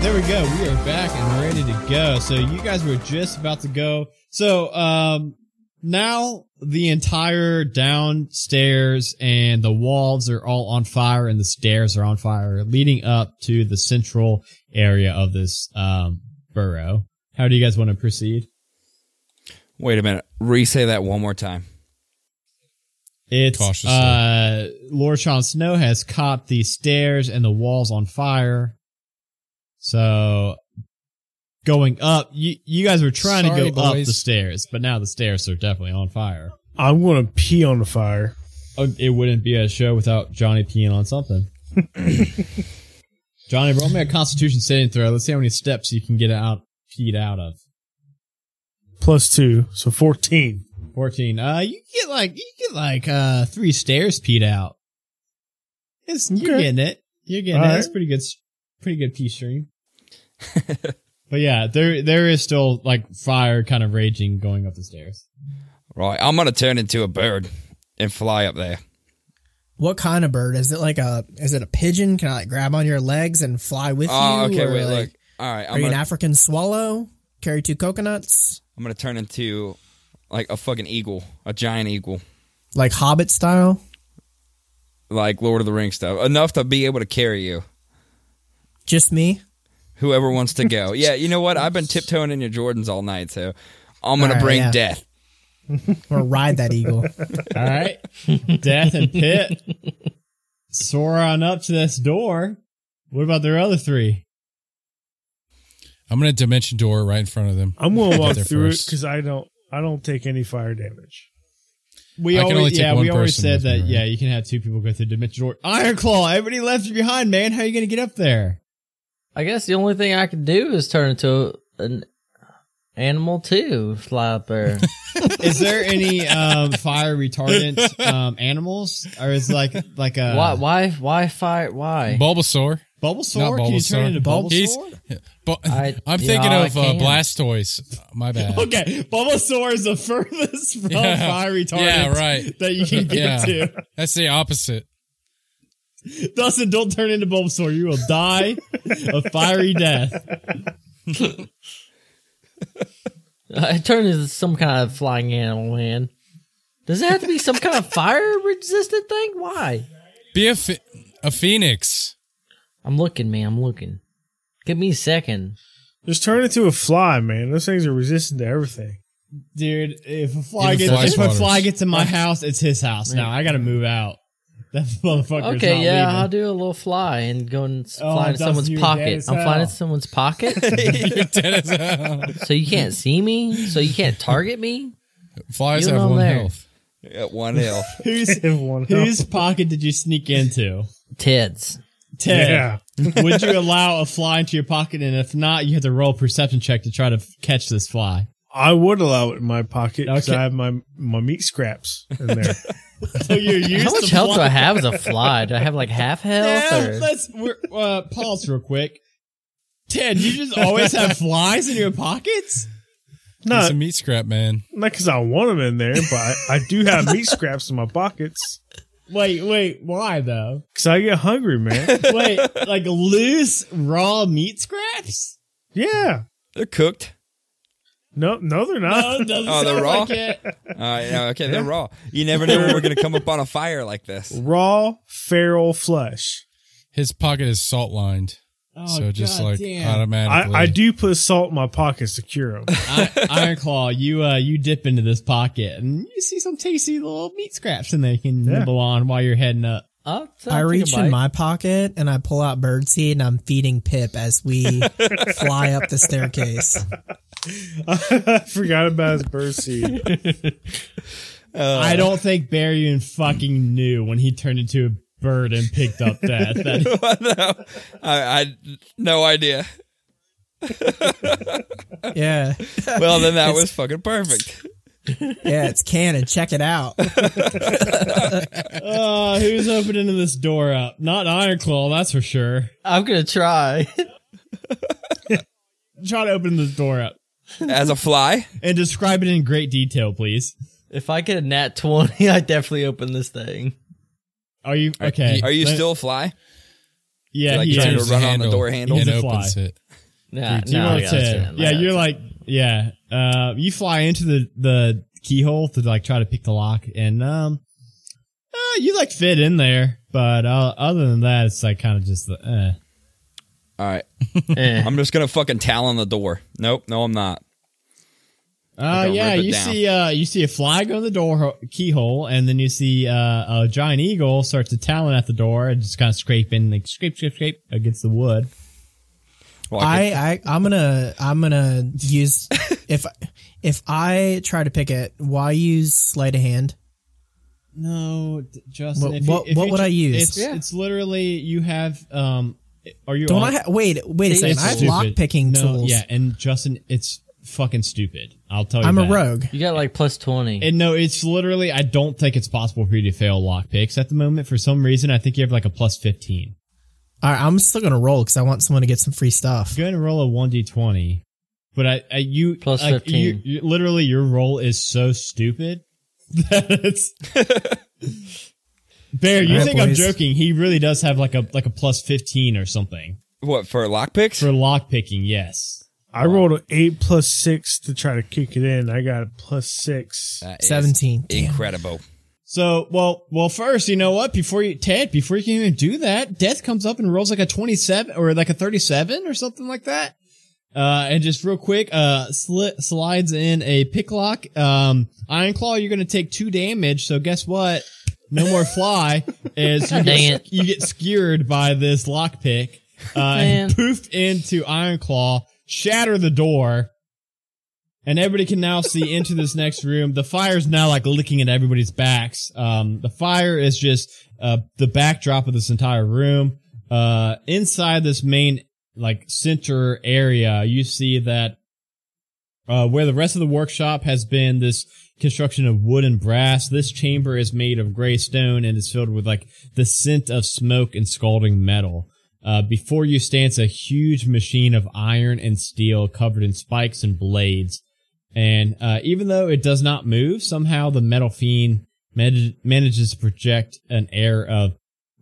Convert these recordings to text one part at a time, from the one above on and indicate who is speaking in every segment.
Speaker 1: there we go. We are back and ready to go. So you guys were just about to go. So um now the entire downstairs and the walls are all on fire and the stairs are on fire leading up to the central area of this um burrow. How do you guys want to proceed?
Speaker 2: Wait a minute. Re say that one more time.
Speaker 1: It's
Speaker 3: Cautiously.
Speaker 1: uh Lord Sean Snow has caught the stairs and the walls on fire. So going up, you you guys were trying
Speaker 3: Sorry,
Speaker 1: to go up
Speaker 3: boys.
Speaker 1: the stairs, but now the stairs are definitely on fire.
Speaker 4: I'm gonna pee on the fire.
Speaker 1: Oh, it wouldn't be a show without Johnny peeing on something. Johnny, roll me a Constitution saving throw. Let's see how many steps you can get out peed out of.
Speaker 4: Plus two, so fourteen.
Speaker 1: 14. Uh, you get like, you get like, uh, three stairs peed out. It's, you're
Speaker 4: Okay.
Speaker 1: getting it. You're getting it.
Speaker 4: Alright.
Speaker 1: It's pretty good, s- pretty good pee stream. but yeah, there, there is still like fire kind of raging going up the stairs.
Speaker 2: Right. I'm going to turn into a bird and fly up there.
Speaker 5: What kind of bird? Is it like a is it a pigeon? Can I like grab on your legs and fly with
Speaker 2: Oh,
Speaker 5: you?
Speaker 2: okay.
Speaker 5: Or,
Speaker 2: Wait,
Speaker 5: like,
Speaker 2: look. All right.
Speaker 5: Are
Speaker 2: I'm
Speaker 5: you
Speaker 2: going
Speaker 5: an
Speaker 2: to
Speaker 5: African swallow? Carry two coconuts?
Speaker 2: I'm gonna turn into like a fucking eagle, a giant eagle,
Speaker 5: Like Hobbit style?
Speaker 2: like Lord of the Rings stuff. Enough to be able to carry you.
Speaker 5: Just me?
Speaker 2: whoever wants to go. Yeah, you know what? I've been tiptoeing in your Jordans all night, so I'm gonna
Speaker 5: All right,
Speaker 2: bring
Speaker 5: yeah.
Speaker 2: death.
Speaker 5: Or ride that eagle.
Speaker 1: All right. Death and Pit soar on up to this door. What about their other three?
Speaker 3: I'm gonna dimension door right in front of them.
Speaker 4: I'm gonna walk
Speaker 3: there
Speaker 4: through it
Speaker 3: first.
Speaker 4: because I don't I don't take any fire damage.
Speaker 1: We
Speaker 3: I can
Speaker 1: always,
Speaker 3: only take
Speaker 1: yeah,
Speaker 3: one
Speaker 1: we always
Speaker 3: person
Speaker 1: said
Speaker 3: with me,
Speaker 1: that,
Speaker 3: right?
Speaker 1: yeah, you can have two people go through Dimension Door. Iron Claw, everybody left you behind, man. How are you going to get up there?
Speaker 6: I guess the only thing I could do is turn into an animal too, fly up there.
Speaker 1: Is there any um, fire retardant um, animals, or is like like a
Speaker 6: why? Why? Why fight? Why?
Speaker 3: Bulbasaur.
Speaker 1: Bulbasaur?
Speaker 3: Not
Speaker 1: Can you turn
Speaker 3: Bulbasaur.
Speaker 1: into
Speaker 3: Bul-
Speaker 1: Bulbasaur?
Speaker 3: he's- Bu-
Speaker 6: I-
Speaker 3: I'm
Speaker 6: yeah,
Speaker 3: thinking
Speaker 6: I
Speaker 3: of uh,
Speaker 6: can.
Speaker 3: Blastoise. My bad.
Speaker 1: okay, Bulbasaur is the furthest from
Speaker 3: Yeah.
Speaker 1: fire retardant
Speaker 3: Yeah, right.
Speaker 1: that you can get
Speaker 3: Yeah.
Speaker 1: to.
Speaker 3: That's the opposite.
Speaker 1: Dustin, don't turn into Bulbasaur. You will die a fiery death.
Speaker 6: I turn into some kind of flying animal, man. Does it have to be some kind of fire resistant thing? Why?
Speaker 3: Be a, ph- a phoenix.
Speaker 6: I'm looking, man. I'm looking. Give me a second.
Speaker 4: Just turn into a fly, man. Those things are resistant to everything.
Speaker 1: Dude, if a fly
Speaker 3: Even
Speaker 1: gets
Speaker 3: fly
Speaker 1: if a
Speaker 3: swatters.
Speaker 1: fly gets in my house, it's his house. Now I gotta move out. That motherfucker. is
Speaker 6: Okay,
Speaker 1: not
Speaker 6: yeah,
Speaker 1: leaving.
Speaker 6: I'll do a little fly and go and s-
Speaker 1: Oh,
Speaker 6: fly into
Speaker 1: Dustin,
Speaker 6: someone's
Speaker 1: you're dead
Speaker 6: pocket.
Speaker 1: as
Speaker 6: I'm flying
Speaker 1: hell.
Speaker 6: into someone's pocket,
Speaker 3: You're dead as hell.
Speaker 6: so you can't see me, so you can't target me.
Speaker 3: Flies
Speaker 6: You
Speaker 3: have
Speaker 6: know
Speaker 3: one
Speaker 6: there.
Speaker 3: health.
Speaker 2: At one hill.
Speaker 1: Who's
Speaker 4: Everyone
Speaker 1: Whose pocket did you sneak into?
Speaker 6: Ted's.
Speaker 1: Ted, would you allow a fly into your pocket? And if not, you have to roll a perception check to try to f- catch this fly.
Speaker 4: I would allow it in my pocket because
Speaker 1: Okay.
Speaker 4: I have my my meat scraps in there.
Speaker 1: So you're used
Speaker 6: How
Speaker 1: to
Speaker 6: much health do
Speaker 1: fly-
Speaker 6: I have as a fly? Do I have like half health?
Speaker 1: Yeah,
Speaker 6: or?
Speaker 1: let's we're, uh, pause real quick. Ted, you just always have flies in your pockets?
Speaker 3: It's
Speaker 4: not
Speaker 3: a meat scrap, man.
Speaker 4: not because I want them in there, but I, I do have meat scraps in my pockets
Speaker 1: Wait, wait, why though?
Speaker 4: because I get hungry, man.
Speaker 1: Wait, like loose raw meat scraps?
Speaker 4: Yeah.
Speaker 2: They're cooked.
Speaker 4: No, no, they're
Speaker 1: No,
Speaker 4: not.
Speaker 1: it doesn't
Speaker 2: Oh, they're
Speaker 1: sound
Speaker 2: raw?
Speaker 1: like it.
Speaker 2: Uh, yeah, okay, they're raw. You never know when we're gonna come upon a fire like this.
Speaker 4: Raw feral flesh.
Speaker 3: His pocket is salt lined,
Speaker 1: Oh,
Speaker 3: so just
Speaker 1: God
Speaker 3: like
Speaker 1: damn.
Speaker 3: automatically.
Speaker 4: I, I do put salt in my pockets to cure them.
Speaker 1: I, Iron Claw, you uh, you dip into this pocket and you see some tasty little meat scraps in there you can
Speaker 4: Yeah.
Speaker 1: nibble on while you're heading up.
Speaker 6: I'll- I'll
Speaker 5: I
Speaker 6: take a
Speaker 5: reach
Speaker 6: bite.
Speaker 5: in my pocket and I pull out birdseed and I'm feeding Pip as we fly up the staircase.
Speaker 4: I forgot about his bird seed.
Speaker 2: Uh,
Speaker 1: I don't think Baryon fucking knew when he turned into a bird and picked up death. That,
Speaker 2: no, I, I no idea.
Speaker 5: Yeah.
Speaker 2: Well, then that was fucking perfect.
Speaker 5: Yeah, it's canon. Check it out.
Speaker 1: uh, who's opening this door up? Not Iron Claw, that's for sure.
Speaker 6: I'm gonna try.
Speaker 1: Try to open this door up
Speaker 2: As a fly,
Speaker 1: and describe it in great detail, please.
Speaker 6: if I get a nat twenty, I definitely open this thing.
Speaker 1: Are you okay?
Speaker 2: are you
Speaker 1: Let-
Speaker 2: still a fly?
Speaker 1: Yeah,
Speaker 2: like
Speaker 1: he
Speaker 2: trying
Speaker 1: is.
Speaker 2: to run on the door handle?
Speaker 3: and
Speaker 1: He's a fly.
Speaker 3: opens it.
Speaker 6: Nah,
Speaker 1: You
Speaker 6: nah,
Speaker 1: want
Speaker 6: yeah,
Speaker 1: to-
Speaker 6: let's do it.
Speaker 1: yeah,
Speaker 6: Nah,
Speaker 1: you're
Speaker 6: let's-
Speaker 1: like, yeah. Uh, you fly into the the keyhole to like try to pick the lock, and um, uh, you like fit in there, but uh, other than that, it's like kind of just the. Uh.
Speaker 2: All right.
Speaker 6: Eh.
Speaker 2: I'm just gonna fucking talon the door. Nope. No, I'm not.
Speaker 1: Uh,
Speaker 2: Like a
Speaker 1: yeah,
Speaker 2: rip it
Speaker 1: you
Speaker 2: down.
Speaker 1: see, uh, you see a fly go in the door ho- keyhole, and then you see uh, a giant eagle start to talon at the door and just kind of scraping, like scrape, scrape, scrape against the wood.
Speaker 2: Well, I
Speaker 5: I, I I'm gonna I'm gonna use if if I try to pick it, why use sleight of hand?
Speaker 1: No, d- Justin.
Speaker 5: What-
Speaker 1: if you-
Speaker 5: what-
Speaker 1: if
Speaker 5: what
Speaker 1: you
Speaker 5: would
Speaker 1: ju-
Speaker 5: I use?
Speaker 1: It's,
Speaker 5: Yeah.
Speaker 1: it's literally you have. Um, are you?
Speaker 5: Don't
Speaker 1: on-
Speaker 5: I ha- wait wait a
Speaker 6: It's
Speaker 5: second? I have
Speaker 1: Stupid.
Speaker 5: lock picking
Speaker 1: no,
Speaker 5: tools.
Speaker 1: Yeah, Oh, and Justin, it's fucking stupid. I'll tell you.
Speaker 5: I'm a
Speaker 1: that.
Speaker 5: rogue.
Speaker 6: you got like plus twenty.
Speaker 1: And no, it's literally. I don't think it's possible for you to fail lock picks at the moment. For some reason, I think you have like a plus fifteen.
Speaker 5: All right, I'm still gonna roll because I want someone to get some free stuff.
Speaker 1: Go ahead and roll a one d twenty. But I, I you
Speaker 6: Plus
Speaker 1: like,
Speaker 6: 15.
Speaker 1: you- you- literally, your roll is so stupid that it's. Bear, you
Speaker 5: All right,
Speaker 1: think I'm
Speaker 5: boys.
Speaker 1: joking? He really does have like a like a plus fifteen or something
Speaker 2: what for lockpicks?
Speaker 1: for lock picking. Yes.
Speaker 4: I rolled an eight plus six to try to kick it in. I got a plus six.
Speaker 2: That is
Speaker 5: 17. Damn.
Speaker 2: Incredible.
Speaker 1: So, well, well, first, you know what? Before you, Ted, before you can even do that, Death comes up and rolls like a 27 or like a 37 or something like that. Uh, and just real quick, uh, sli slides in a picklock. Um, Iron Claw, you're going to take two damage. So guess what? No more fly is you
Speaker 6: Dang
Speaker 1: get,
Speaker 6: it.
Speaker 1: you get skewered by this lockpick, uh, and
Speaker 6: Man.
Speaker 1: poofed into Iron Claw, shatter the door. And everybody can now see into this next room. The fire's now like licking at everybody's backs. Um, the fire is just uh, the backdrop of this entire room. Uh, inside this main like center area, you see that uh, where the rest of the workshop has been this construction of wood and brass. This chamber is made of gray stone and is filled with like the scent of smoke and scalding metal. Uh, before you stands a huge machine of iron and steel covered in spikes and blades. And uh, even though it does not move, somehow the metal fiend manag manages to project an air of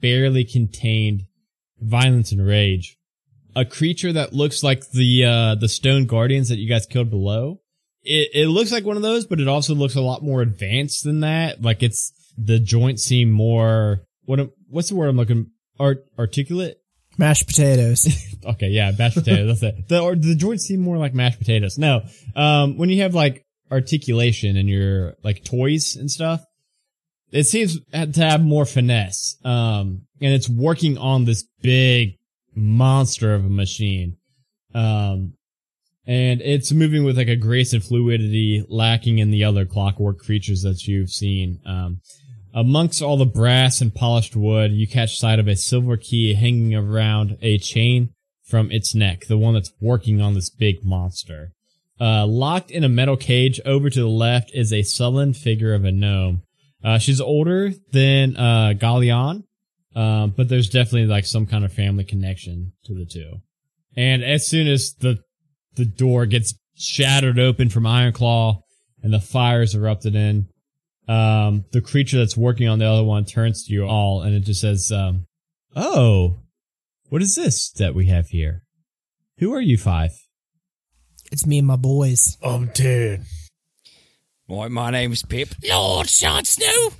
Speaker 1: barely contained violence and rage. A creature that looks like the uh, the stone guardians that you guys killed below. It, it looks like one of those, but it also looks a lot more advanced than that. Like it's the joints seem more what am- what's the word I'm looking art articulate
Speaker 5: Mashed potatoes.
Speaker 1: okay, yeah, mashed potatoes. That's it. The, or the joints seem more like mashed potatoes. No, um, when you have like articulation and your like toys and stuff, it seems to have more finesse. Um, and it's working on this big monster of a machine. Um, and it's moving with like a grace and fluidity lacking in the other clockwork creatures that you've seen. Um, amongst all the brass and polished wood, you catch sight of a silver key hanging around a chain from its neck, the one that's working on this big monster. Uh, locked in a metal cage over to the left is a sullen figure of a gnome. Uh, she's older than uh, Galleon, uh, but there's definitely like some kind of family connection to the two. And as soon as the the door gets shattered open from Iron Claw and the fire's erupted in, um, the creature that's working on the other one turns to you all and it just says, um, Oh, what is this that we have here? Who are you five?
Speaker 5: it's me and my boys.
Speaker 4: I'm dead.
Speaker 2: Why, my name's Pip.
Speaker 7: Lord Sean Snow.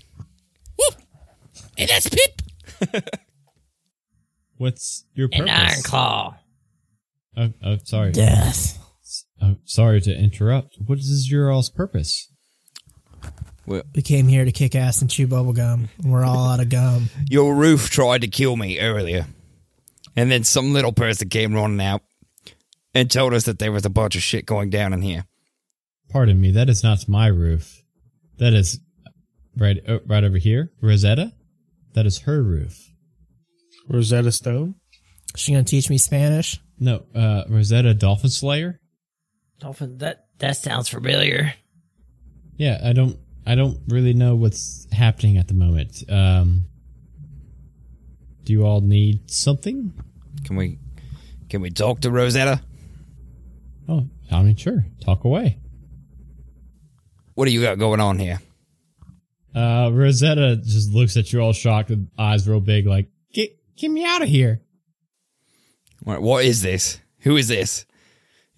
Speaker 7: Whoop. And that's Pip
Speaker 1: What's your purpose?
Speaker 7: and Iron Claw.
Speaker 1: Oh, oh, sorry.
Speaker 5: Death.
Speaker 1: Oh, sorry to interrupt. What is your all's purpose?
Speaker 5: We came here to kick ass and chew bubble gum. We're all out of gum.
Speaker 2: Your roof tried to kill me earlier, and then some little person came running out and told us that there was a bunch of shit going down in here.
Speaker 1: Pardon me, that is not my roof. That is right, oh, right over here. Rosetta? That is her roof.
Speaker 4: Rosetta Stone.
Speaker 5: She gonna teach me Spanish?
Speaker 1: No, uh, Rosetta Dolphin Slayer?
Speaker 7: Dolphin, that, that sounds familiar.
Speaker 1: Yeah, I don't I don't really know what's happening at the moment. Um Do you all need something?
Speaker 2: Can we, can we talk to Rosetta?
Speaker 1: Oh, I mean sure. Talk away.
Speaker 2: What do you got going on here?
Speaker 1: Uh Rosetta just looks at you all shocked with eyes real big like get get me out of here.
Speaker 2: What, what is this? Who is this?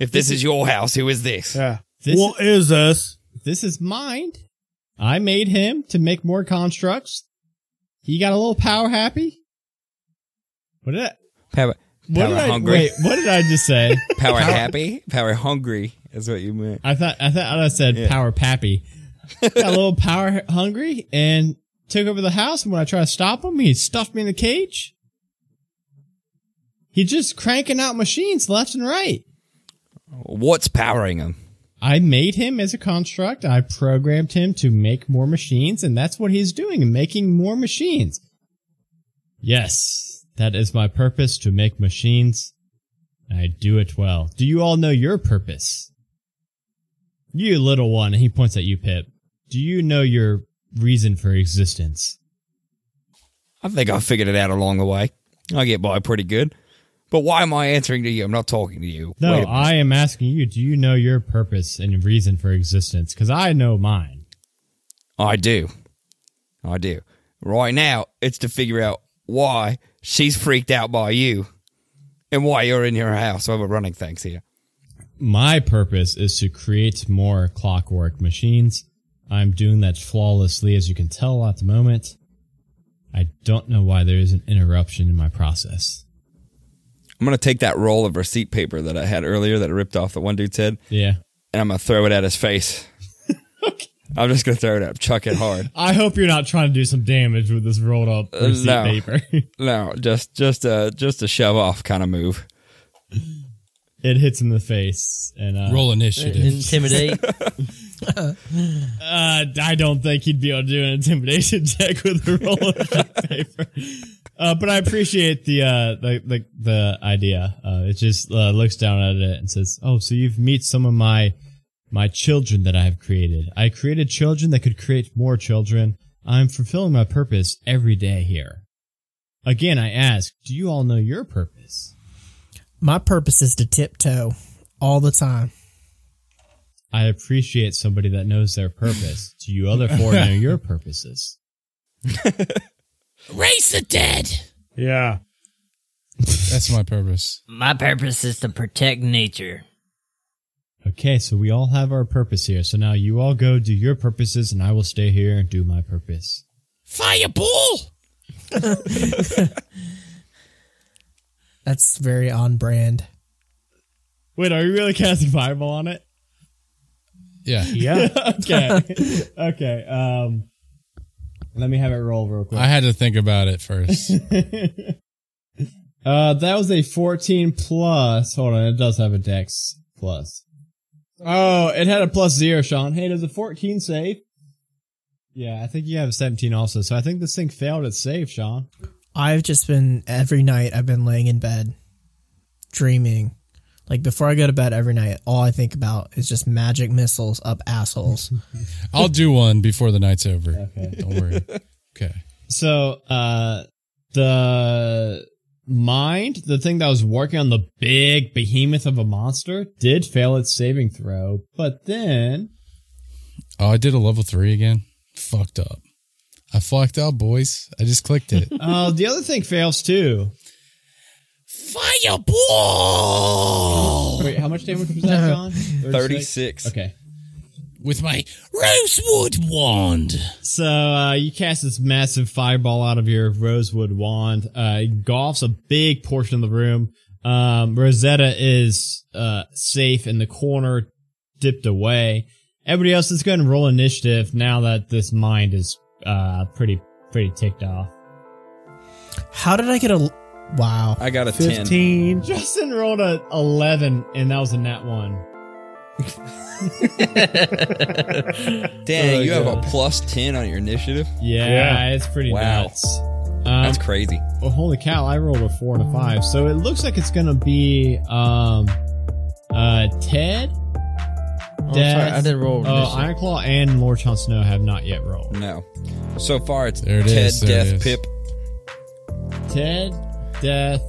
Speaker 2: If this is your house, who is this?
Speaker 4: Yeah.
Speaker 1: This-
Speaker 4: what is this?
Speaker 1: This is mine. I made him to make more constructs. He got a little power happy. What did I,
Speaker 2: Power,
Speaker 1: what
Speaker 2: power
Speaker 1: did I
Speaker 2: hungry.
Speaker 1: wait? What did I just say?
Speaker 2: Power happy. Power hungry. That's what you meant.
Speaker 1: I thought I thought I said power pappy. Got a little power hungry and took over the house. And when I tried to stop him, he stuffed me in a cage. He just cranking out machines left and right.
Speaker 2: What's powering him?
Speaker 1: I made him as a construct. I programmed him to make more machines, and that's what he's doing, making more machines. Yes, that is my purpose to make machines. I do it well. Do you all know your purpose? You little one, he points at you, Pip. Do you know your reason for existence?
Speaker 2: I think I figured it out along the way. I get by pretty good. But why am I answering to you? I'm not talking to you.
Speaker 1: No,
Speaker 2: Wait a minute.
Speaker 1: I am asking you, do you know your purpose and reason for existence? Because I know mine.
Speaker 2: I do. I do. Right now, it's to figure out why she's freaked out by you and why you're in your house while we're running things here.
Speaker 1: my purpose is to create more clockwork machines. I'm doing that flawlessly, as you can tell at the moment. I don't know why there is an interruption in my process.
Speaker 2: I'm going to take that roll of receipt paper that I had earlier that I ripped off the one dude's head
Speaker 1: Yeah.
Speaker 2: and I'm going to throw it at his face. I'm just going to throw it up, chuck it hard.
Speaker 1: I hope you're not trying to do some damage with this rolled up
Speaker 2: Uh,
Speaker 1: receipt
Speaker 2: no.
Speaker 1: paper.
Speaker 2: No, just just uh just a shove off kind of move.
Speaker 1: it hits him in the face, and uh,
Speaker 3: Roll initiative.
Speaker 6: Intimidate.
Speaker 1: uh, I don't think he'd be able to do an intimidation check with a roll of receipt paper. Uh, but I appreciate the uh, the, the the idea. Uh, it just uh, looks down at it and says, "Oh, so you've met some of my my children that I have created. I created children that could create more children. I'm fulfilling my purpose every day here." Again, I ask, do you all know your purpose?
Speaker 5: My purpose is to tiptoe all the time.
Speaker 1: I appreciate somebody that knows their purpose. Do you other four know your purposes?
Speaker 7: Raise the dead.
Speaker 4: Yeah.
Speaker 3: That's my purpose.
Speaker 6: My purpose is to protect nature.
Speaker 1: Okay, so we all have our purpose here. So now you all go do your purposes, and I will stay here and do my purpose.
Speaker 7: Fireball.
Speaker 5: That's very on brand.
Speaker 1: Wait, are you really casting fireball on it?
Speaker 3: Yeah.
Speaker 4: Yeah.
Speaker 1: Okay, okay. Um, let me have it roll real quick.
Speaker 3: I had to think about it first.
Speaker 1: Uh, that was a fourteen plus. Hold on, it does have a dex plus. Oh, it had a plus zero, Sean. Hey, does a fourteen save? Yeah, I think you have a seventeen also. So I think this thing failed its save, Sean.
Speaker 5: I've just been every night I've been laying in bed dreaming. Like before I go to bed every night, all I think about is just magic missiles up assholes.
Speaker 3: I'll do one before the night's over. Don't worry. Okay.
Speaker 1: So, uh, the mind, the thing that was working on the big behemoth of a monster, did fail its saving throw, but then
Speaker 3: Oh, I did a level three again. Fucked up. I fucked up, boys. I just clicked it.
Speaker 1: uh, the other thing fails too.
Speaker 7: Fireball.
Speaker 1: Wait, how much damage was that, John?
Speaker 2: 36.
Speaker 1: Okay.
Speaker 7: With my rosewood wand.
Speaker 1: So uh, you cast this massive fireball out of your rosewood wand. Uh, it engulfs a big portion of the room. Um, Rosetta is uh, safe in the corner, dipped away. Everybody else is going to roll initiative now that this mind is uh, pretty pretty ticked off.
Speaker 5: How did I get a wow?
Speaker 2: I got a 10.
Speaker 4: 15.
Speaker 1: Justin rolled a eleven, and that was a nat one.
Speaker 2: Dang,
Speaker 1: Oh,
Speaker 2: you have a
Speaker 1: God.
Speaker 2: plus 10 on your initiative?
Speaker 1: Yeah,
Speaker 4: Yeah.
Speaker 1: it's pretty
Speaker 2: Wow.
Speaker 1: nuts. Um,
Speaker 2: That's crazy.
Speaker 1: Well, holy cow, I rolled a four and a five. So it looks like it's gonna be um uh Ted,
Speaker 6: Oh, I'm
Speaker 1: Death,
Speaker 6: sorry, I didn't roll.
Speaker 1: uh,
Speaker 6: initiative.
Speaker 1: Ironclaw, and Lord Chon Snow have not yet rolled.
Speaker 2: No. So far, it's
Speaker 3: There it
Speaker 2: Ted,
Speaker 3: is, there it
Speaker 2: Death,
Speaker 3: is.
Speaker 2: Pip.
Speaker 1: Ted, Death.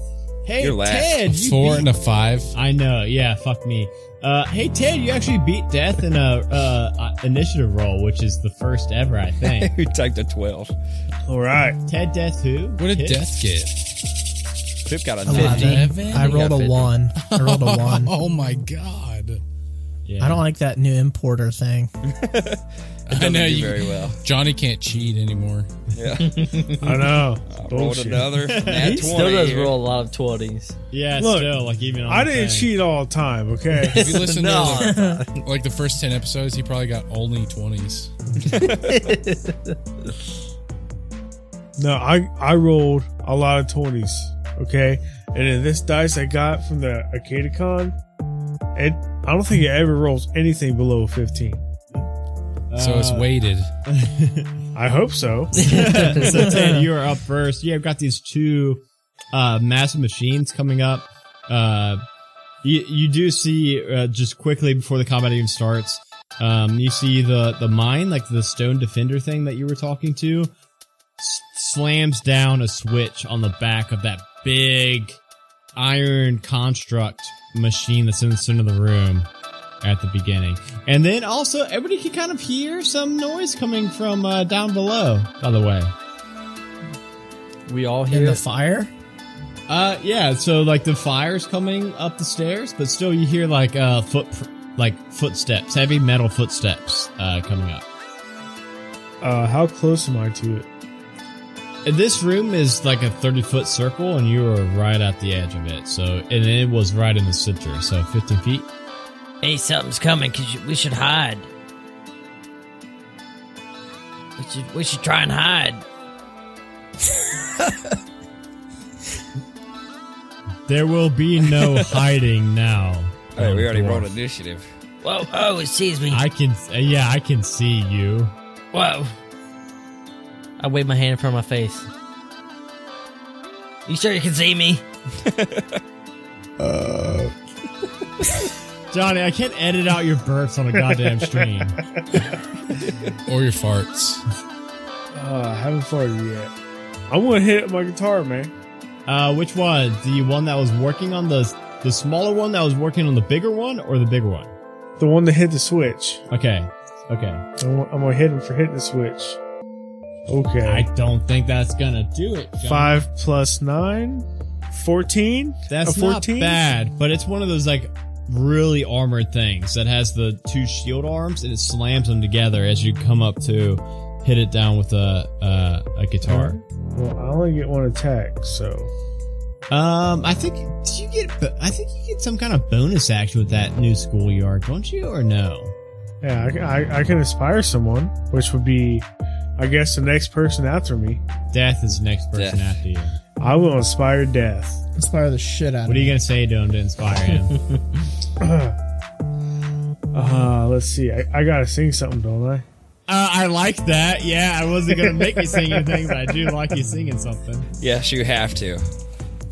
Speaker 1: Hey
Speaker 2: You're last.
Speaker 1: Ted,
Speaker 3: A
Speaker 1: you
Speaker 3: four
Speaker 1: beat-
Speaker 3: and a five.
Speaker 1: I know, yeah, fuck me. Uh, hey Ted, you actually beat Death in a uh, uh, initiative roll, which is the first ever, I think.
Speaker 2: Who typed a 12?
Speaker 4: All right.
Speaker 1: Ted, Death, who?
Speaker 3: What did
Speaker 1: Hit?
Speaker 3: death get?
Speaker 2: Poop got a
Speaker 5: Eleven.
Speaker 2: 50.
Speaker 5: I rolled a one. I rolled a one.
Speaker 3: Oh my god.
Speaker 1: Yeah.
Speaker 5: I don't like that new importer thing.
Speaker 3: I know
Speaker 2: do
Speaker 3: you
Speaker 2: very well.
Speaker 3: Johnny can't cheat anymore.
Speaker 4: I know.
Speaker 2: Rolled
Speaker 4: Bullshit.
Speaker 2: another nat 20.
Speaker 6: He still does
Speaker 2: here.
Speaker 6: roll a lot of twenties.
Speaker 1: Yeah,
Speaker 4: Look,
Speaker 1: still like even. On
Speaker 4: I
Speaker 1: the
Speaker 4: didn't
Speaker 1: thing.
Speaker 4: cheat all the time, okay?
Speaker 3: If you listen
Speaker 2: No.
Speaker 3: to like, like the first ten episodes, he probably got only twenties.
Speaker 4: no, I I rolled a lot of twenties, okay? And then this dice I got from the Arcadicon, it I don't think it ever rolls anything below a fifteen.
Speaker 3: so it's
Speaker 1: Uh,
Speaker 3: weighted.
Speaker 4: I hope so.
Speaker 1: so Ted, you are up first. Yeah, I've got these two uh, massive machines coming up. Uh, you, you do see uh, just quickly before the combat even starts. Um, you see the the mine, like the stone defender thing that you were talking to, s- slams down a switch on the back of that big iron construct machine that's in the center of the room at the beginning. And then also, everybody can kind of hear some noise coming from uh, down below, by the way.
Speaker 6: We all
Speaker 5: In
Speaker 6: hear
Speaker 5: the
Speaker 6: it.
Speaker 5: fire?
Speaker 1: Uh, yeah, so like the fire's coming up the stairs, but still you hear like, uh, foot, like footsteps, heavy metal footsteps, uh, coming up.
Speaker 4: Uh, how close am I to it?
Speaker 1: And this room is like a 30 foot circle and you are right at the edge of it. So, and it was right in the center. So 15 feet.
Speaker 7: Hey, something's coming. Cause you- we should hide. We should, we should try and hide.
Speaker 1: There will be no hiding now.
Speaker 2: Hey, we already
Speaker 1: Dwarf.
Speaker 2: rolled initiative.
Speaker 7: Whoa, oh, it sees me.
Speaker 1: I can, yeah, I can see you.
Speaker 7: Whoa.
Speaker 6: I wave my hand in front of my face.
Speaker 7: You sure you can see me?
Speaker 1: Johnny, I can't edit out your burps on a goddamn stream.
Speaker 3: Or your farts.
Speaker 4: Uh, I haven't farted yet. I'm gonna hit my guitar, man.
Speaker 1: Uh, which one? The one that was working on the the smaller one that was working on the bigger one, or the bigger one?
Speaker 4: The one that hit the switch.
Speaker 1: Okay, okay.
Speaker 4: I'm, gonna- I'm gonna hit him for hitting the switch. Okay.
Speaker 1: I don't think that's gonna do it. Johnny.
Speaker 4: Five plus nine? Uh, 14?
Speaker 1: That's
Speaker 4: A
Speaker 1: not
Speaker 4: 14?
Speaker 1: bad, but it's one of those like really armored things that has the two shield arms and it slams them together as you come up to hit it down with a uh, a guitar.
Speaker 4: Well, I only get one attack, so.
Speaker 1: Um, I think do you get? bo- I think you get some kind of bonus action with that new schoolyard, don't you? Or no?
Speaker 4: Yeah, I, I, I can inspire someone, which would be, I guess, the next person after me.
Speaker 1: Death is the next person
Speaker 2: Death.
Speaker 1: after you.
Speaker 4: I will inspire death.
Speaker 5: Inspire the shit out
Speaker 1: What
Speaker 5: of
Speaker 1: are you
Speaker 5: me.
Speaker 1: gonna say to him to inspire him?
Speaker 4: Uh, let's see. I, I gotta sing something, don't I?
Speaker 1: uh, I like that. Yeah, I wasn't gonna make you sing anything, but I do like you singing something.
Speaker 2: Yes, you have to.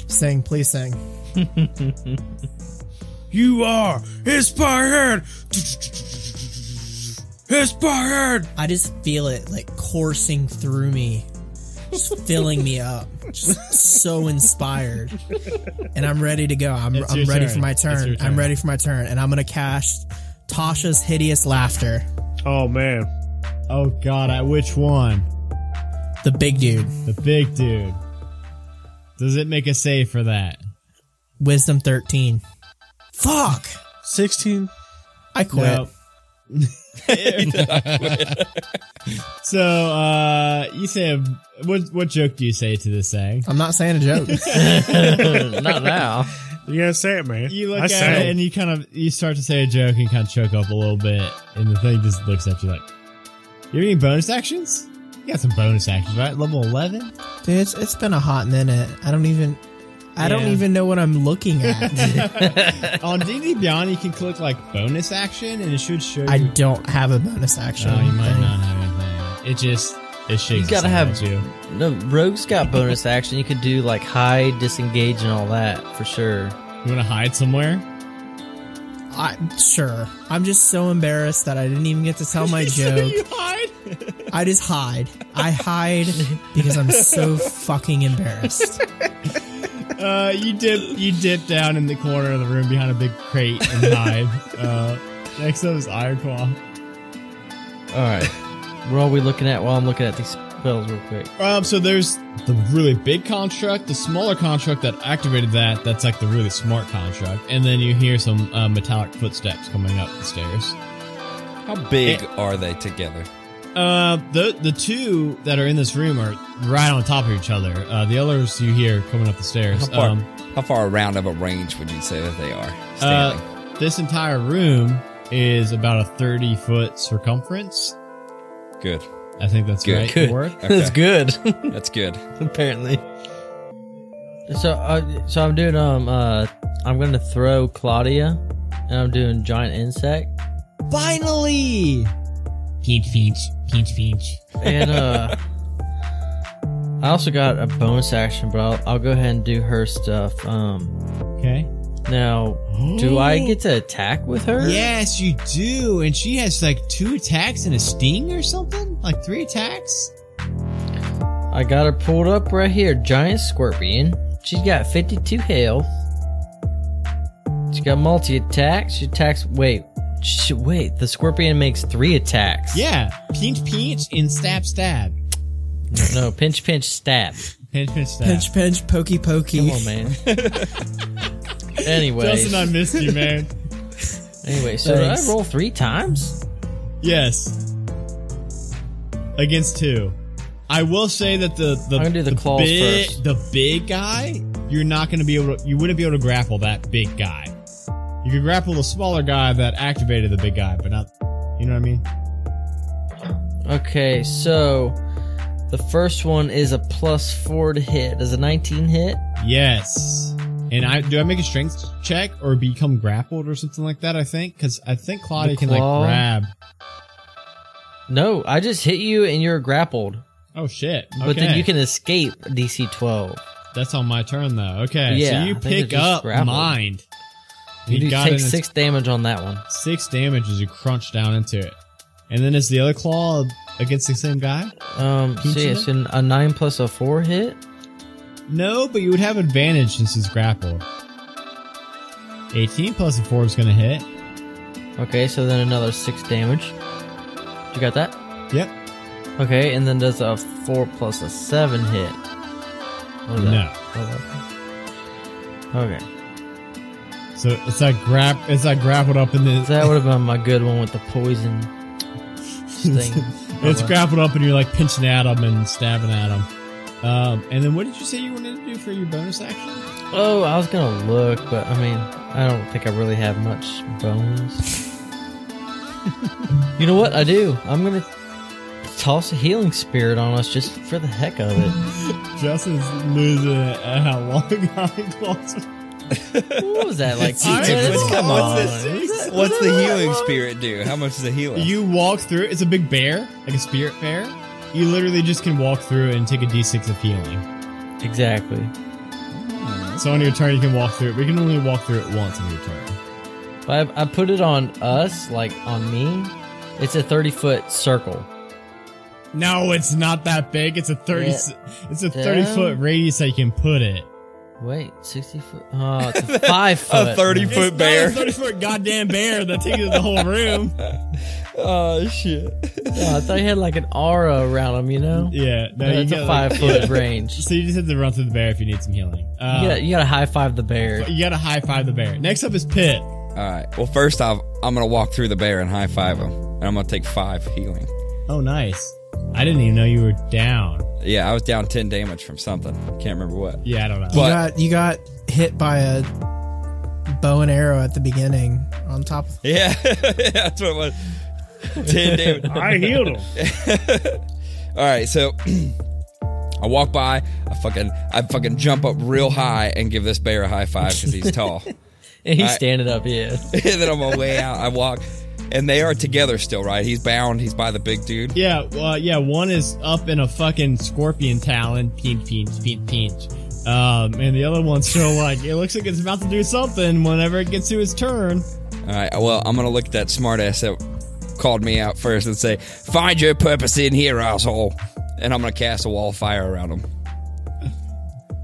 Speaker 5: Sing, please sing.
Speaker 4: You are inspired! Inspired!
Speaker 5: I just feel it like coursing through me, just filling me up. Just so inspired, and I'm ready to go. I'm,
Speaker 1: It's
Speaker 5: I'm
Speaker 1: your
Speaker 5: ready
Speaker 1: turn.
Speaker 5: for my
Speaker 1: It's your
Speaker 5: turn.
Speaker 1: turn.
Speaker 5: I'm ready for my turn, and I'm gonna cast Tasha's hideous laughter.
Speaker 4: Oh, man.
Speaker 1: Oh God, at which one?
Speaker 5: The big dude,
Speaker 1: The big dude. Does it make a save for that?
Speaker 5: wisdom thirteen. Fuck,
Speaker 4: 16?
Speaker 5: I quit.
Speaker 1: so uh, you say, what what joke do you say to this thing?
Speaker 5: I'm not saying a joke.
Speaker 6: Not now.
Speaker 4: You gotta say it, man.
Speaker 1: You look
Speaker 4: I
Speaker 1: at
Speaker 4: say
Speaker 1: it and you kind of you start to say a joke and kind of choke up a little bit, and the thing just looks at you like, "You have any bonus actions? You got some bonus actions, right? Level eleven?
Speaker 5: Dude, it's, it's been a hot minute. I don't even. I don't
Speaker 1: Yeah.
Speaker 5: even know what I'm looking at.
Speaker 1: On D&D Beyond, you can click like bonus action, and it should show.
Speaker 5: I
Speaker 1: you.
Speaker 5: don't have a bonus action.
Speaker 1: No, Oh, you might
Speaker 5: thing.
Speaker 1: not have anything. It just it shakes.
Speaker 6: gotta
Speaker 1: itself
Speaker 6: have-
Speaker 1: at you.
Speaker 6: No, Rogue's got bonus action. You could do like hide, disengage, and all that for sure.
Speaker 1: You want to hide somewhere?
Speaker 5: I, sure. I'm just so embarrassed that I didn't even get to tell my joke.
Speaker 1: you hide.
Speaker 5: I just hide. I hide because I'm so fucking embarrassed.
Speaker 1: Uh, you dip, you dip down in the corner of the room behind a big crate and hide. uh, next up is Ironclaw.
Speaker 6: All right, what are we looking at while I'm looking at these spells real quick.
Speaker 1: Um, so there's the really big construct, the smaller construct that activated that. That's like the really smart construct, and then you hear some uh, metallic footsteps coming up the stairs.
Speaker 2: How big are they together?
Speaker 1: Uh, the the two that are in this room are right on top of each other. Uh, the others you hear coming up the
Speaker 2: How
Speaker 1: stairs.
Speaker 2: far,
Speaker 1: Um,
Speaker 2: how far around of a range would you say that they are? Standing?
Speaker 1: uh, this entire room is about a thirty foot circumference.
Speaker 2: good.
Speaker 1: I think that's
Speaker 2: Good.
Speaker 1: right.
Speaker 6: Good.
Speaker 1: Warwick?
Speaker 6: That's good.
Speaker 2: That's good.
Speaker 6: apparently. So, uh, so I'm doing um uh I'm gonna throw Claudia, and I'm doing giant insect,
Speaker 1: Finally,
Speaker 7: Pinch, pinch, pinch, pinch.
Speaker 6: and uh I also got a bonus action, but I'll, I'll go ahead and do her stuff. Um,
Speaker 1: okay.
Speaker 6: now do I get to attack with her?
Speaker 1: Yes, you do. And she has like two attacks and a sting or something? Like three attacks?
Speaker 6: I got her pulled up right here, giant scorpion. She's got 52 health. She got multi attacks. She attacks. Wait, sh wait. The scorpion makes three attacks.
Speaker 1: Yeah. Pinch, pinch, and stab, stab.
Speaker 6: No, pinch, pinch, stab.
Speaker 1: Pinch, pinch, stab.
Speaker 5: Pinch, pinch, pokey, pokey.
Speaker 6: Come on, man.
Speaker 1: Justin, I
Speaker 6: anyway,
Speaker 1: missed you, man.
Speaker 6: anyway, so did I
Speaker 5: Thanks.
Speaker 6: roll three times?
Speaker 1: yes. Against two. I will say that the the,
Speaker 6: I'm gonna do the claws
Speaker 1: big,
Speaker 6: first.
Speaker 1: the big guy, you're not gonna be able to you wouldn't be able to grapple that big guy. You could grapple the smaller guy that activated the big guy, but not you know what I mean?
Speaker 6: Okay, so the first one is a plus four to hit. Is a 19 hit?
Speaker 1: Yes. And I do I make a strength check or become grappled or something like that, I think? Because I think Claudia
Speaker 6: The
Speaker 1: can like
Speaker 6: claw.
Speaker 1: grab.
Speaker 6: No, I just hit you and you're grappled.
Speaker 1: Oh shit. Okay.
Speaker 6: But then you can escape DC 12.
Speaker 1: That's on my turn though. Okay.
Speaker 6: Yeah,
Speaker 1: so you
Speaker 6: I
Speaker 1: pick
Speaker 6: think they're just
Speaker 1: up
Speaker 6: grappled.
Speaker 1: mind.
Speaker 6: You, do
Speaker 1: it
Speaker 6: take
Speaker 1: and it's
Speaker 6: six damage on that one.
Speaker 1: six damage as you crunch down into it. And then it's the other claw against the same guy?
Speaker 6: Um, so yeah,
Speaker 1: Peach
Speaker 6: so a nine plus a four hit.
Speaker 1: No, but you would have advantage since he's grappled. 18 plus a 4 is going to hit.
Speaker 6: Okay, so then another six damage. You got that?
Speaker 1: Yep.
Speaker 6: Okay, and then does a four plus a seven hit? What is
Speaker 1: No.
Speaker 6: that? Oh, okay. Okay.
Speaker 1: So it's that grab, it's that grappled up in the,
Speaker 6: That would have been my good one with the poison thing.
Speaker 1: It's grappled up and you're like pinching at him and stabbing at him. Um, and then what did you say you wanted to do for your bonus action?
Speaker 6: Oh, I was gonna look, but I mean, I don't think I really have much bones. you know what? I do. I'm gonna toss a healing spirit on us just for the heck of it.
Speaker 1: Justin's losing it at how uh, long I lost.
Speaker 6: What was that like?
Speaker 2: Jesus,
Speaker 6: two minutes?
Speaker 2: what's-
Speaker 6: Come on.
Speaker 2: what's What's the healing spirit do? How much is a healer?
Speaker 1: You walk through. It's a big bear, like a spirit bear. You literally just can walk through and take a d6 of healing.
Speaker 6: Exactly.
Speaker 1: So on your turn, you can walk through it. We can only walk through it once on your turn.
Speaker 6: But I, I put it on us, like on me. It's a 30 foot circle.
Speaker 1: No, it's not that big. It's a thirty. It's a thirty
Speaker 6: Damn.
Speaker 1: foot radius that you can put it.
Speaker 6: Wait, 60 foot? Oh, it's a 5 foot.
Speaker 2: a 30 foot bear.
Speaker 1: Thirty foot goddamn bear that takes the whole room.
Speaker 2: Oh, shit.
Speaker 6: Oh, I thought he had like an aura around him, you know?
Speaker 1: Yeah, no,
Speaker 6: That's
Speaker 1: you
Speaker 6: a
Speaker 1: get, like-
Speaker 6: five foot range.
Speaker 1: So you just have to run through the bear if you need some healing. Uh,
Speaker 6: You gotta, you gotta high five the bear.
Speaker 1: You gotta high five the bear. Next up is Pit.
Speaker 2: All right. Well, first off, I'm going to walk through the bear and high five him. And I'm going to take five healing.
Speaker 1: Oh, nice. I didn't even know you were down.
Speaker 2: Yeah, I was down 10 damage from something. Can't remember what.
Speaker 1: Yeah, I don't know.
Speaker 2: But-
Speaker 5: you got you got hit by a bow and arrow at the beginning on top of
Speaker 2: Yeah, that's what it was. 10 damage.
Speaker 4: I healed him.
Speaker 2: All right, so I walk by, I fucking, I fucking jump up real high and give this bear a high five because he's tall.
Speaker 6: And he's
Speaker 2: I-
Speaker 6: standing up, yeah.
Speaker 2: and then on my way out, I walk, and they are together still, right? He's bound. He's by the big dude.
Speaker 1: yeah, well, yeah, one is up in a fucking scorpion talon. Pinch, pinch, pinch, pinch. Um, and the other one's still like, it looks like it's about to do something whenever it gets to his turn.
Speaker 2: All right, well, I'm gonna look at that smartass that called me out first and say, "Find your purpose in here, asshole," and I'm gonna cast a wall of fire around him,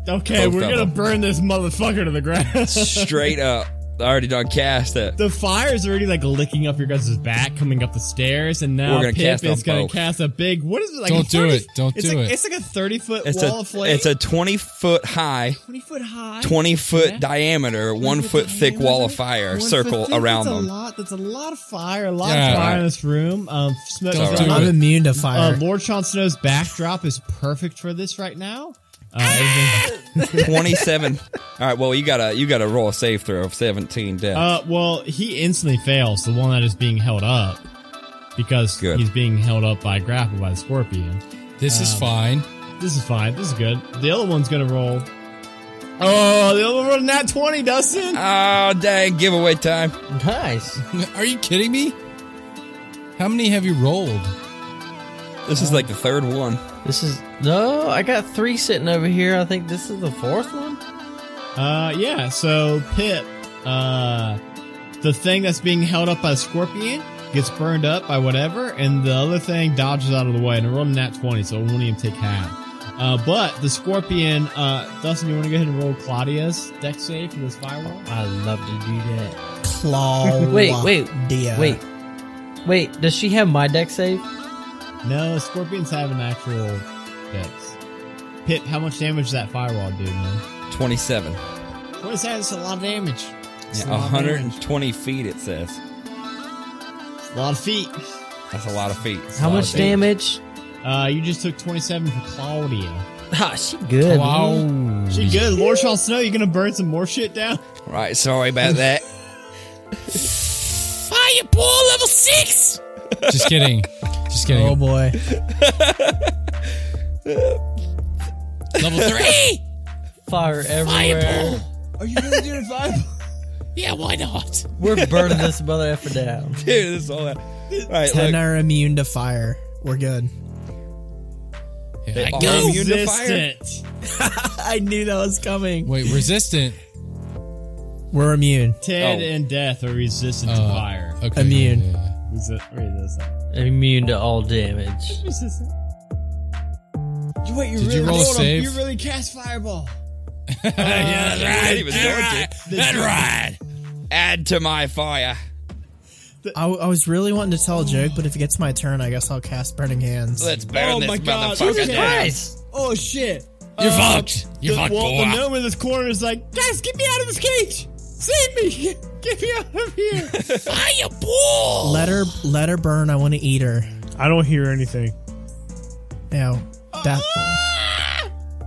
Speaker 1: Okay,
Speaker 2: Both
Speaker 1: we're
Speaker 2: of
Speaker 1: gonna
Speaker 2: them.
Speaker 1: burn this motherfucker to the ground.
Speaker 2: straight up. I already done cast it.
Speaker 1: The fire's already like licking up your guys' back, coming up the stairs, and now
Speaker 2: We're gonna
Speaker 1: Pip
Speaker 2: cast on
Speaker 1: is gonna
Speaker 2: both.
Speaker 1: cast a big. What is it like?
Speaker 3: Don't do
Speaker 1: 30
Speaker 3: it. Don't
Speaker 1: it's
Speaker 3: do
Speaker 1: like,
Speaker 3: it.
Speaker 1: It's like a thirty foot
Speaker 2: It's
Speaker 1: wall
Speaker 2: a
Speaker 1: of flame.
Speaker 2: it's a twenty foot high,
Speaker 1: twenty foot high,
Speaker 2: twenty foot
Speaker 1: Yeah.
Speaker 2: diameter, one foot thick wall of fire
Speaker 1: One foot
Speaker 2: circle
Speaker 1: thick,
Speaker 2: around
Speaker 1: that's
Speaker 2: them.
Speaker 1: A lot, that's a lot of fire. A lot
Speaker 3: Yeah.
Speaker 1: of fire in this room. Um, smoke
Speaker 3: Don't
Speaker 1: is
Speaker 3: do
Speaker 1: coming
Speaker 5: I'm
Speaker 3: it.
Speaker 5: immune to
Speaker 1: Uh,
Speaker 5: fire.
Speaker 1: Lord Sean Snow's backdrop is perfect for this right now. Uh,
Speaker 2: Ah!
Speaker 1: everything-
Speaker 2: 27 all right well you gotta you gotta roll a save throw of 17 death
Speaker 1: uh, well, he instantly fails the one that is being held up because
Speaker 2: Good.
Speaker 1: he's being held up by grapple by the scorpion.
Speaker 3: This is fine.
Speaker 1: This is fine. This is good. The other one's gonna roll. Oh, the other one rolled a nat twenty, Dustin.
Speaker 6: Uh,
Speaker 2: oh dang giveaway time
Speaker 6: Nice.
Speaker 3: Are you kidding me? How many have you rolled?
Speaker 2: this is like the third one
Speaker 6: This is no. I got three sitting over here. I think this is the fourth one.
Speaker 1: Uh, yeah. So Pip, uh, the thing that's being held up by the scorpion gets burned up by whatever, and the other thing dodges out of the way. And I rolled a nat twenty, so it won't even take half. Uh, but the scorpion, uh, Dustin, you want to go ahead and roll Claudia's deck save for this firewall?
Speaker 6: I love to do that.
Speaker 5: Claw.
Speaker 6: Wait, wait,
Speaker 5: Dia.
Speaker 6: Wait, wait. Does she have my deck save?
Speaker 1: No, scorpions have an actual dex. Pip, how much damage does that firewall do, man?
Speaker 2: 27
Speaker 1: What is that? It's a lot of damage. It's
Speaker 2: yeah,
Speaker 1: a lot of damage.
Speaker 2: 120 feet it says
Speaker 1: It's a lot of feet.
Speaker 2: that's a lot of feet
Speaker 6: How much damage?
Speaker 1: Uh, you just took 27 for Claudia.
Speaker 6: Ah, she good.
Speaker 3: Wow.
Speaker 1: She good. Lord Shall Snow, you gonna burn some more shit down?
Speaker 2: right sorry about that
Speaker 7: Fireball level six.
Speaker 3: Just kidding. Just kidding.
Speaker 5: Oh boy.
Speaker 3: Level three.
Speaker 7: Hey,
Speaker 6: Fire everywhere.
Speaker 7: fireball.
Speaker 1: Are you really doing five?
Speaker 7: Yeah, why not?
Speaker 6: We're burning this mother effer down.
Speaker 2: dude this is all that all right
Speaker 5: Ten
Speaker 2: look,
Speaker 5: are immune to fire. We're good.
Speaker 2: they are
Speaker 7: go.
Speaker 2: immune to fire.
Speaker 5: I knew that was coming.
Speaker 3: Wait, resistant.
Speaker 5: We're immune.
Speaker 1: Ted
Speaker 2: Oh.
Speaker 1: and Death are resistant to
Speaker 3: Uh,
Speaker 1: fire.
Speaker 3: Okay.
Speaker 5: Immune.
Speaker 3: yeah, yeah.
Speaker 1: Resi- resistant.
Speaker 6: Immune to all damage.
Speaker 1: Resistant. You- Wait, you
Speaker 3: Did you roll a
Speaker 1: hold on,
Speaker 3: save?
Speaker 1: You really cast fireball.
Speaker 2: yeah, that's right. He was going to.
Speaker 1: The-
Speaker 2: Add to my fire.
Speaker 5: I, I was really wanting to tell a joke, but if it gets my turn, I guess I'll cast Burning Hands.
Speaker 2: Let's burn
Speaker 1: Oh
Speaker 2: this
Speaker 1: my God,
Speaker 2: motherfucker
Speaker 1: okay.
Speaker 2: down.
Speaker 6: Nice.
Speaker 1: Oh shit.
Speaker 7: You're
Speaker 1: Uh,
Speaker 7: fucked. You're
Speaker 1: the,
Speaker 7: fucked,
Speaker 1: well,
Speaker 7: boy.
Speaker 1: the gnome in this corner is like, guys, get me out of this cage. Save me. Get me out of here.
Speaker 7: Fireball.
Speaker 5: Let her, let her burn. I want to eat her.
Speaker 4: I don't hear anything.
Speaker 5: Now, that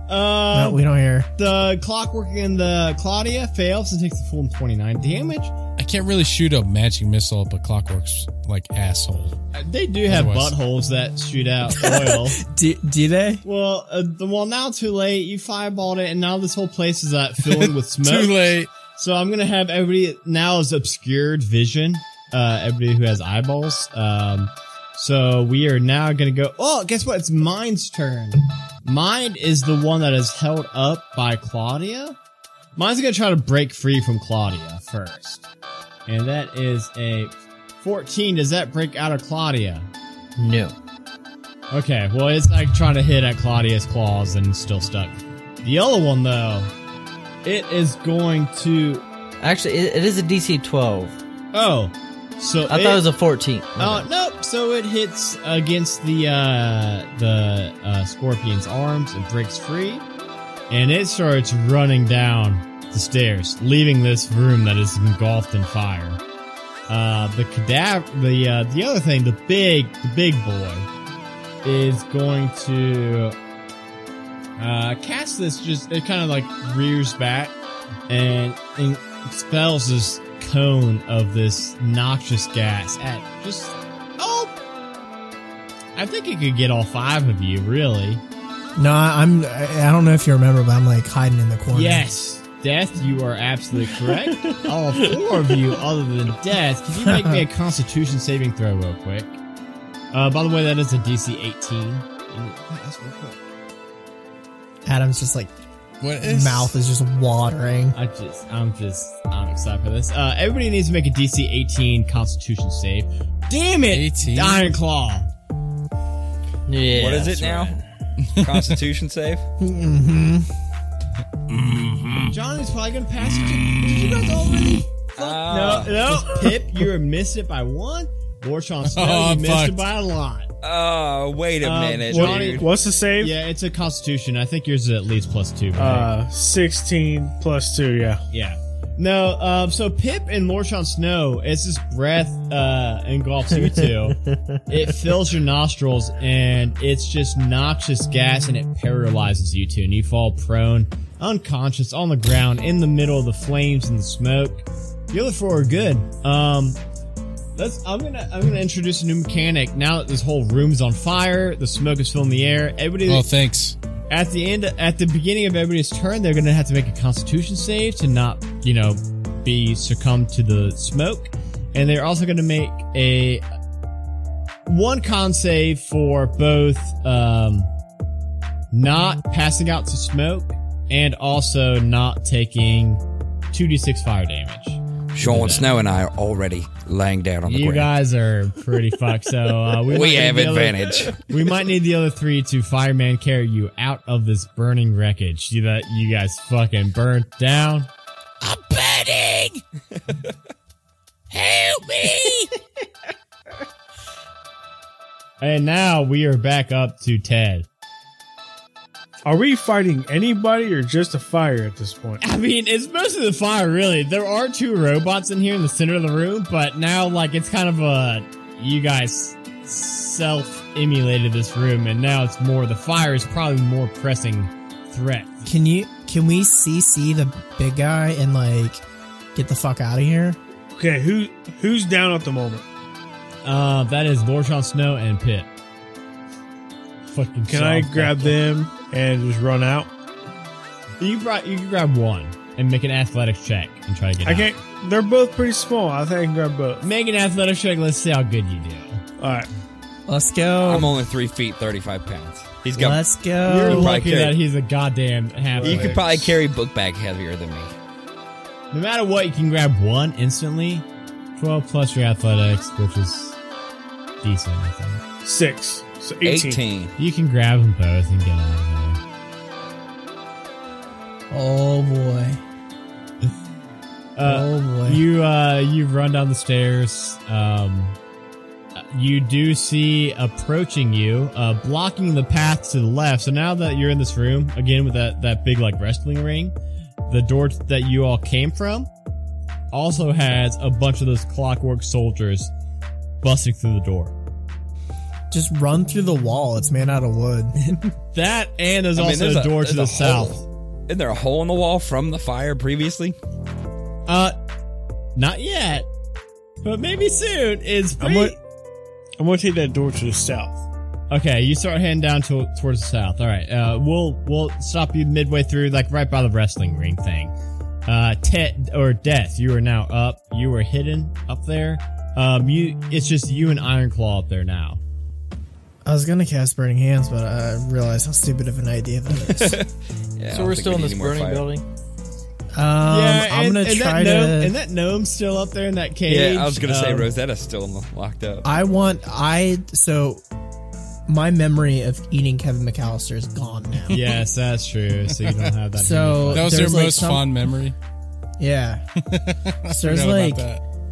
Speaker 1: uh,
Speaker 5: no, we don't hear.
Speaker 1: the clockwork in the Claudia fails and takes the full 29 damage.
Speaker 3: I can't really shoot a matching missile, but clockwork's like asshole.
Speaker 1: They do have
Speaker 3: Otherwise-
Speaker 1: buttholes that shoot out oil.
Speaker 5: Do, do they?
Speaker 1: well, uh, the- well, now too late. You fireballed it, and now this whole place is uh, filled with smoke.
Speaker 3: Too late.
Speaker 1: So I'm gonna have everybody now is obscured vision. Uh, everybody who has eyeballs. Um, so we are now gonna go. Oh, guess what? It's mine's turn. Mine is the one that is held up by Claudia. Mine's gonna try to break free from Claudia first, and that is a 14. Does that break out of Claudia?
Speaker 6: No.
Speaker 1: Okay, well, it's like trying to hit at Claudia's claws and still stuck. The yellow one, though, it is going to.
Speaker 6: Actually, it, it is a DC 12.
Speaker 1: Oh, so
Speaker 6: I
Speaker 1: it,
Speaker 6: thought it was a 14.
Speaker 1: Oh nope! So it hits against the uh, the uh, scorpion's arms and breaks free, and it starts running down the stairs, leaving this room that is engulfed in fire. Uh, the cadaver, the uh, the other thing, the big the big boy, is going to uh, cast this. Just it kind of like rears back and, and expels this cone of this noxious gas at just oh I think it could get all five of you really.
Speaker 5: No, I- I'm. I I don't know if you remember, but I'm like hiding in the corner.
Speaker 1: Yes. Death, you are absolutely correct. all four of you other than death. Can you make me a constitution saving throw real quick? Uh by the way that is a DC eighteen. And- that's real quick.
Speaker 5: Adam's just like
Speaker 3: What is
Speaker 5: mouth is just watering.
Speaker 1: I just, I'm just, I'm excited for this. Uh, everybody needs to make a DC 18 Constitution save. Damn it,
Speaker 3: 18?
Speaker 1: Iron Claw.
Speaker 6: Yeah.
Speaker 2: What is it now?
Speaker 6: that's right.
Speaker 2: Constitution save?
Speaker 1: John is probably gonna pass it. to- Did you guys already?
Speaker 4: Uh,
Speaker 2: Ah,
Speaker 1: No, no. Pip, you were missing it by one. Warchon Snow,
Speaker 3: Oh,
Speaker 1: you
Speaker 3: I'm
Speaker 1: missed
Speaker 3: fucked.
Speaker 1: it by a lot.
Speaker 2: Oh, wait a
Speaker 1: Um,
Speaker 2: minute,
Speaker 1: Johnny-
Speaker 2: dude.
Speaker 4: What's the save?
Speaker 1: Yeah, it's a Constitution. I think yours is at least plus two. Right?
Speaker 4: Uh, 16 plus 2, yeah.
Speaker 1: yeah. No, um, so Pip and Lorchon Snow, as his breath uh, engulfs you two, it fills your nostrils and it's just noxious gas and it paralyzes you two, and you fall prone, unconscious, on the ground, in the middle of the flames and the smoke. The other four are good. Um, Let's. I'm gonna. I'm gonna introduce a new mechanic. Now that this whole room's on fire, the smoke is filling the air. Everybody
Speaker 3: Oh, thanks.
Speaker 1: at the end, at the beginning of everybody's turn, they're going to have to make a Constitution save to not, you know, be succumbed to the smoke, and they're also going to make a one con save for both um, not passing out to smoke and also not taking two d six fire damage.
Speaker 2: Sean Snow and I are already laying down on the
Speaker 1: You
Speaker 2: ground.
Speaker 1: guys are pretty fucked, so uh, we, might
Speaker 2: we
Speaker 1: need
Speaker 2: have
Speaker 1: the other-
Speaker 2: advantage.
Speaker 1: we might need the other three to fireman carry you out of this burning wreckage. See that you guys fucking burnt down.
Speaker 7: I'm burning! Help me!
Speaker 1: And now we are back up to Ted.
Speaker 4: Are we fighting anybody or just a fire at this point?
Speaker 1: I mean, it's mostly the fire, really. There are two robots in here in the center of the room, but now, like, it's kind of a you guys self emulated this room, and now it's more the fire is probably more pressing threat.
Speaker 5: Can you? Can we CC the big guy and like get the fuck out of here?
Speaker 4: Okay, who who's down at the moment?
Speaker 1: Uh, that is Lorchon Snow and Pitt. Fucking
Speaker 4: Can I
Speaker 1: soft
Speaker 4: grab them and just run out?
Speaker 1: You brought you can grab one and make an athletics check and try to get.
Speaker 4: I
Speaker 1: out.
Speaker 4: can't. They're both pretty small. I think I can grab both.
Speaker 1: Make an athletics check. Let's see how good you do.
Speaker 4: All right.
Speaker 5: Let's go.
Speaker 2: I'm only three feet, thirty-five pounds. He's got.
Speaker 5: Let's
Speaker 1: You're
Speaker 5: go.
Speaker 2: probably
Speaker 1: lucky
Speaker 2: carry-
Speaker 1: that he's a goddamn half.
Speaker 2: you could probably carry book bag heavier than me.
Speaker 1: No matter what, you can grab one instantly. Twelve plus your athletics, which is decent. I think
Speaker 4: Six. So 18.
Speaker 2: 18.
Speaker 1: you can grab them both and get out of there.
Speaker 5: Oh boy.
Speaker 1: Uh,
Speaker 5: oh boy.
Speaker 1: You uh, you run down the stairs. Um, you do see approaching you, uh, blocking the path to the left. So now that you're in this room again with that that big like wrestling ring, the door that you all came from also has a bunch of those clockwork soldiers busting through the door.
Speaker 5: Just run through the wall. It's made out of wood.
Speaker 1: That and there's
Speaker 2: I mean,
Speaker 1: also
Speaker 2: there's
Speaker 1: a door to the
Speaker 2: there's a hole.
Speaker 1: south.
Speaker 2: Isn't there a hole in the wall from the fire previously?
Speaker 1: Uh, not yet, but maybe soon. It's
Speaker 4: I'm
Speaker 1: pretty.
Speaker 4: gonna, I'm gonna take that door to the south.
Speaker 1: Okay, you start heading down to, towards the south. All right, uh, we'll we'll stop you midway through, like right by the wrestling ring thing. Uh, Tet or Death, you are now up. You were hidden up there. Um, you it's just you and Ironclaw up there now.
Speaker 5: I was gonna cast Burning Hands, but I realized how stupid of an idea that is.
Speaker 2: Yeah, I
Speaker 6: So
Speaker 2: don't
Speaker 6: we're
Speaker 2: think
Speaker 6: still
Speaker 2: we
Speaker 6: in
Speaker 2: need
Speaker 6: this
Speaker 2: any more
Speaker 6: burning
Speaker 2: fire.
Speaker 6: building.
Speaker 5: Um, I'm
Speaker 1: and,
Speaker 5: gonna
Speaker 1: and that
Speaker 5: try
Speaker 1: gnome,
Speaker 5: to.
Speaker 1: and that gnome's still up there in that cage.
Speaker 2: Yeah, I was gonna say
Speaker 1: Um,
Speaker 2: Rosetta's still in the- locked up.
Speaker 5: I want. I so. My memory of eating Kevin McAllister is gone now.
Speaker 1: Yes, that's true. So you don't have that.
Speaker 5: So
Speaker 3: That was
Speaker 5: there's
Speaker 3: your
Speaker 5: like
Speaker 3: most
Speaker 5: some-
Speaker 3: fond memory.
Speaker 5: Yeah. so there's
Speaker 3: Forgot
Speaker 5: like
Speaker 3: about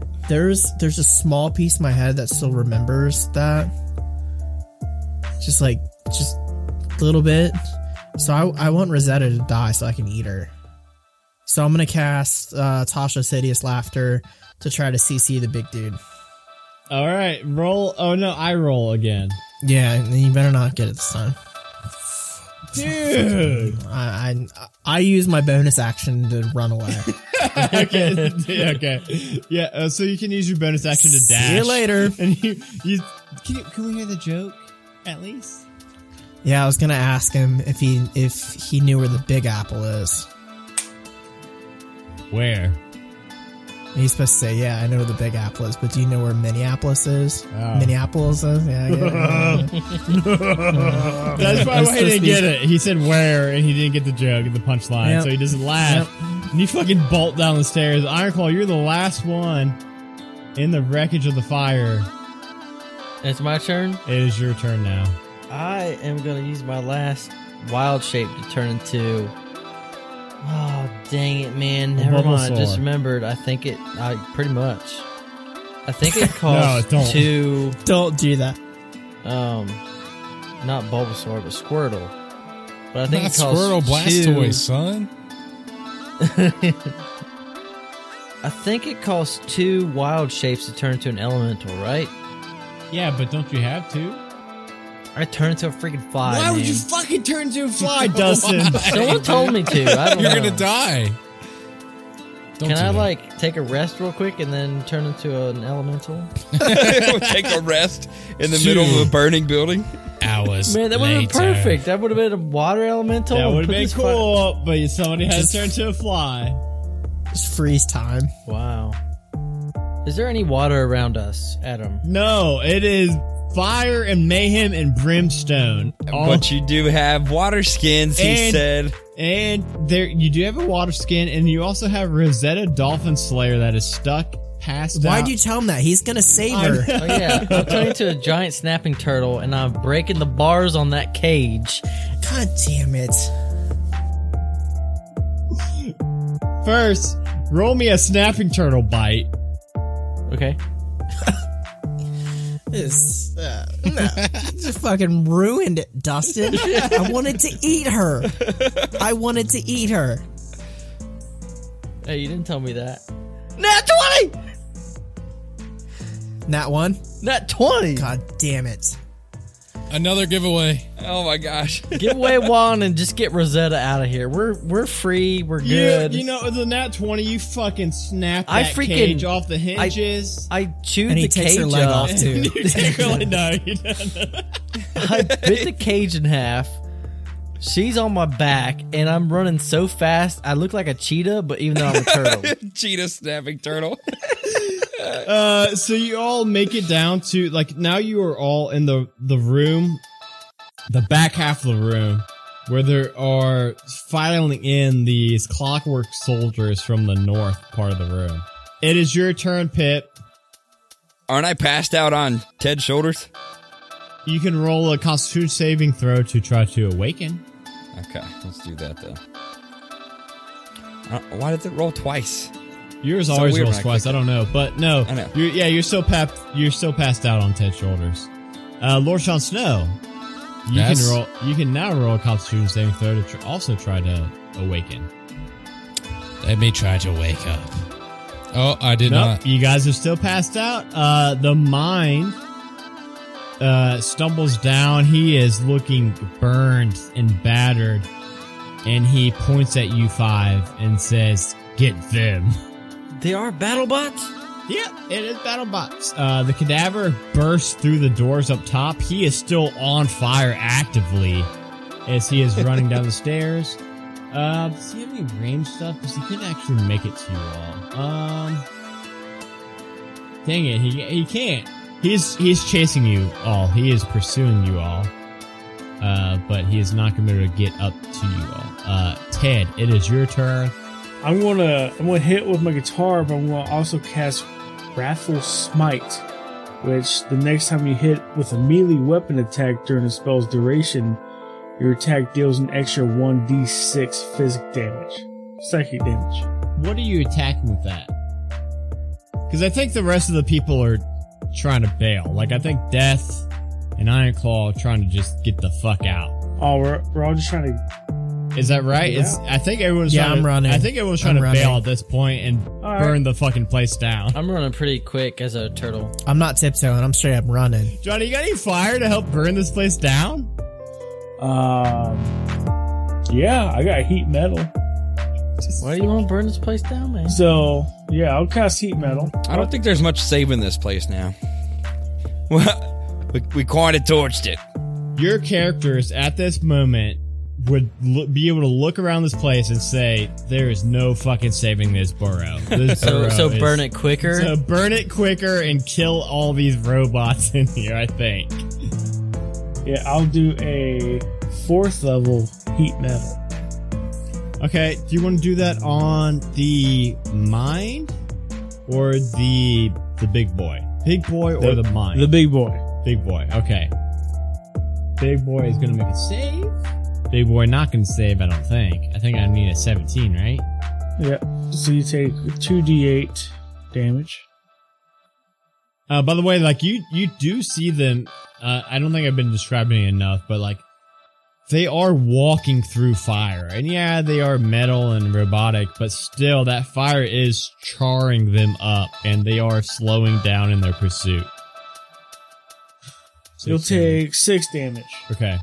Speaker 3: that.
Speaker 5: there's there's a small piece of my head that still remembers that. Just like just a little bit. So I I want Rosetta to die so I can eat her. So I'm gonna cast uh, Tasha's hideous laughter to try to CC the big dude.
Speaker 1: all right, roll. Oh no, I roll again,
Speaker 5: Yeah, and you better not get it this time.
Speaker 1: dude.
Speaker 5: I I, I use my bonus action to run away.
Speaker 1: okay, yeah, okay, yeah. Uh, so you can use your bonus action to dash.
Speaker 5: See you later.
Speaker 1: And you, you, can, you, can we hear the joke at least?
Speaker 5: Yeah, I was gonna ask him if he if he knew where the Big Apple is.
Speaker 1: Where?
Speaker 5: And he's supposed to say, "Yeah, I know where the Big Apple is, but do you know where Minneapolis is?
Speaker 1: Oh.
Speaker 5: Minneapolis is? Yeah, I get it. Yeah,
Speaker 1: That's probably why he
Speaker 5: supposed to
Speaker 1: didn't
Speaker 5: be-
Speaker 1: get it. He said where, and he didn't get the joke and the punchline,
Speaker 5: Yep.
Speaker 1: so he doesn't laugh. And you fucking bolt down the stairs. Ironclaw, you're the last one in the wreckage of the fire.
Speaker 6: It's my turn.
Speaker 1: It is your turn now.
Speaker 6: I am gonna use my last wild shape to turn into Oh dang it, man! Never mind. I
Speaker 1: Bulbasaur.
Speaker 6: just remembered. I think it. I pretty much. I think it costs
Speaker 1: don't.
Speaker 6: two.
Speaker 5: Don't do that.
Speaker 6: Um, not Bulbasaur, but Squirtle. But I think
Speaker 3: Not
Speaker 6: it costs
Speaker 3: Squirtle Blastoise,
Speaker 6: two.
Speaker 3: son.
Speaker 6: I think it costs two wild shapes to turn into an elemental, right?
Speaker 1: Yeah, but don't you have to?
Speaker 6: I turned into a freaking fly.
Speaker 1: Why would
Speaker 6: man.
Speaker 1: you fucking turn to a fly, Dustin?
Speaker 6: Someone told me to. I don't
Speaker 3: You're
Speaker 6: know.
Speaker 3: gonna die. Don't
Speaker 6: Can
Speaker 3: do
Speaker 6: I
Speaker 3: that.
Speaker 6: like take a rest real quick and then turn into an elemental?
Speaker 2: We'll Take a rest in the middle of a burning building.
Speaker 3: hours?
Speaker 6: Man, that would have been
Speaker 3: later.
Speaker 6: perfect. That would have been a water elemental.
Speaker 1: that
Speaker 6: and
Speaker 1: would have
Speaker 6: put
Speaker 1: been
Speaker 6: this fi-
Speaker 1: cool, but somebody had
Speaker 5: Just-
Speaker 1: to turn to a fly.
Speaker 5: Just freeze time.
Speaker 6: Wow. Is there any water around us, Adam?
Speaker 1: No, it is fire and mayhem and brimstone. All-
Speaker 2: But you do have water skins, he
Speaker 1: Oh. And-
Speaker 2: said.
Speaker 1: and there, you do have a water skin, and you also have Rosetta Dolphin Slayer that is stuck past.
Speaker 5: Why'd you tell him that? He's gonna save her.
Speaker 6: Oh yeah, I'm turning into a giant snapping turtle and I'm breaking the bars on that cage.
Speaker 5: God damn it.
Speaker 1: First, roll me a snapping turtle bite.
Speaker 6: Okay.
Speaker 5: This, uh, no. Just fucking ruined it, Dustin. I wanted to eat her. I wanted to eat her.
Speaker 6: Hey, you didn't tell me that.
Speaker 2: Not 20!
Speaker 5: That one?
Speaker 6: Not 20.
Speaker 5: God damn it.
Speaker 3: Another giveaway.
Speaker 2: Oh my gosh.
Speaker 6: Give away one and just get Rosetta out of here. We're we're free. We're good.
Speaker 1: You, you know, the nat twenty, you fucking snap that
Speaker 6: I freaking-
Speaker 1: cage off the hinges.
Speaker 6: I chewed
Speaker 5: And
Speaker 6: the
Speaker 5: he takes
Speaker 6: cage
Speaker 5: her leg
Speaker 6: up.
Speaker 5: off too.
Speaker 1: you take really know. you don't know.
Speaker 6: I bit the cage in half. She's on my back, and I'm running so fast. I look like a cheetah, but even though I'm a turtle.
Speaker 2: Cheetah snapping turtle.
Speaker 1: Uh, so you all make it down to like now you are all in the the room, the back half of the room, where there are filing in these clockwork soldiers from the north part of the room. It is your turn, Pip.
Speaker 2: Aren't I passed out on Ted's shoulders?
Speaker 1: You can roll a Constitution saving throw to try to awaken.
Speaker 2: Okay, let's do that then. Uh, why did it roll twice?
Speaker 1: Yours
Speaker 2: So
Speaker 1: always
Speaker 2: weird
Speaker 1: rolls
Speaker 2: when I
Speaker 1: twice. I don't
Speaker 2: click
Speaker 1: know, but no,
Speaker 2: I know.
Speaker 1: You're, yeah, you're still pap. You're still passed out on Ted's shoulders. Uh, Lord Sean Snow, you
Speaker 3: Yes?
Speaker 1: can roll. You can now roll a Constitution saving throw to tr- also try to awaken.
Speaker 3: Let me try to wake up. Oh, I did
Speaker 1: Nope,
Speaker 3: not.
Speaker 1: you guys are still passed out. Uh, the mind uh, stumbles down. He is looking burned and battered, and he points at you five and says, "Get them."
Speaker 6: They are battle bots.
Speaker 1: Yep, it is BattleBots. Uh, the cadaver bursts through the doors up top. He is still on fire actively as he is running down the stairs. Uh, does he have any range stuff? Because he couldn't actually make it to you all. Um, dang it, he he can't. He's he's chasing you all. He is pursuing you all. Uh, but he is not going to be able to get up to you all. Uh, Ted, it is your turn.
Speaker 4: I'm gonna I'm gonna hit with my guitar, but I'm gonna also cast Wrathful Smite, which the next time you hit with a melee weapon attack during the spell's duration, your attack deals an extra 1d6 physic damage, psychic damage.
Speaker 1: What are you attacking with that? Because I think the rest of the people are trying to bail. Like, I think Death and Ironclaw are trying to just get the fuck out.
Speaker 4: Oh, we're, we're all just trying to.
Speaker 1: Is that right? It's, I think everyone's
Speaker 5: Yeah,
Speaker 1: trying to-
Speaker 5: I'm running.
Speaker 1: I think everyone's trying
Speaker 5: I'm
Speaker 1: to bail
Speaker 5: running.
Speaker 1: at this point and
Speaker 4: right.
Speaker 1: burn the fucking place down.
Speaker 6: I'm running pretty quick as a turtle.
Speaker 5: I'm not tiptoeing. I'm straight up running.
Speaker 1: Johnny, you got any fire to help burn this place down?
Speaker 4: Um, yeah, I got heat metal.
Speaker 6: Why do you want to burn this place down, man?
Speaker 4: So, yeah, I'll cast heat metal.
Speaker 2: I don't think there's much saving this place now. Well, we, we kind of torched it.
Speaker 1: Your characters at this moment would lo- be able to look around this place and say, "There is no fucking saving this borough." This
Speaker 6: So,
Speaker 1: borough
Speaker 6: so
Speaker 1: is-
Speaker 6: burn it quicker.
Speaker 1: Oh, So burn it quicker and kill all these robots in here, I think.
Speaker 4: Yeah, I'll do a fourth level heat metal.
Speaker 1: Okay, do you want to do that on the mind or the the big boy? Big boy or the,
Speaker 4: The-
Speaker 1: mind?
Speaker 4: The big boy.
Speaker 1: big boy. Okay. Big boy is going to make a save. Big boy not gonna save, I don't think. I think I need a 17, right?
Speaker 4: Yep. So you take 2d8 damage.
Speaker 1: Uh, by the way, like you, you do see them. Uh, I don't think I've been describing it enough, but like they are walking through fire, and yeah, they are metal and robotic, but still, that fire is charring them up, and they are slowing down in their pursuit.
Speaker 4: You'll
Speaker 1: Sixteen.
Speaker 4: take 6 damage.
Speaker 1: Okay.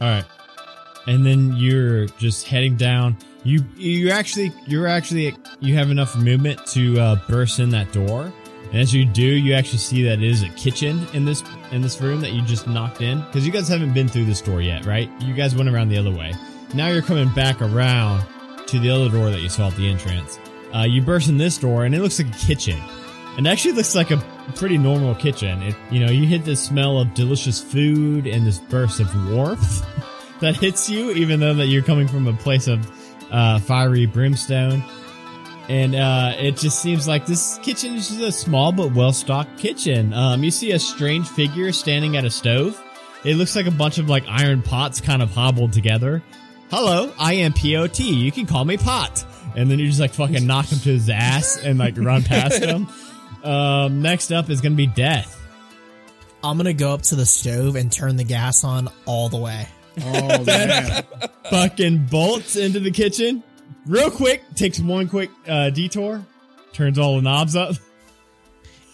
Speaker 1: All right. And then you're just heading down. You you actually you're actually you have enough movement to uh, burst in that door. And as you do, you actually see that it is a kitchen in this in this room that you just knocked in because you guys haven't been through this door yet, right? You guys went around the other way. Now you're coming back around to the other door that you saw at the entrance. Uh, you burst in this door, and it looks like a kitchen. And actually, looks like a pretty normal kitchen. It, you know, you hit the smell of delicious food and this burst of warmth that hits you, even though that you're coming from a place of uh, fiery brimstone. And uh, it just seems like this kitchen is just a small but well-stocked kitchen. Um, you see a strange figure standing at a stove. It looks like a bunch of like iron pots kind of hobbled together. Hello, I am POT. You can call me Pot. And then you just like fucking knock him to his ass and like run past him. Um, next up is gonna be death.
Speaker 5: I'm gonna go up to the stove and turn the gas on all the way.
Speaker 4: Oh, man.
Speaker 1: Fucking bolts into the kitchen, real quick. Takes one quick uh, detour, turns all the knobs up.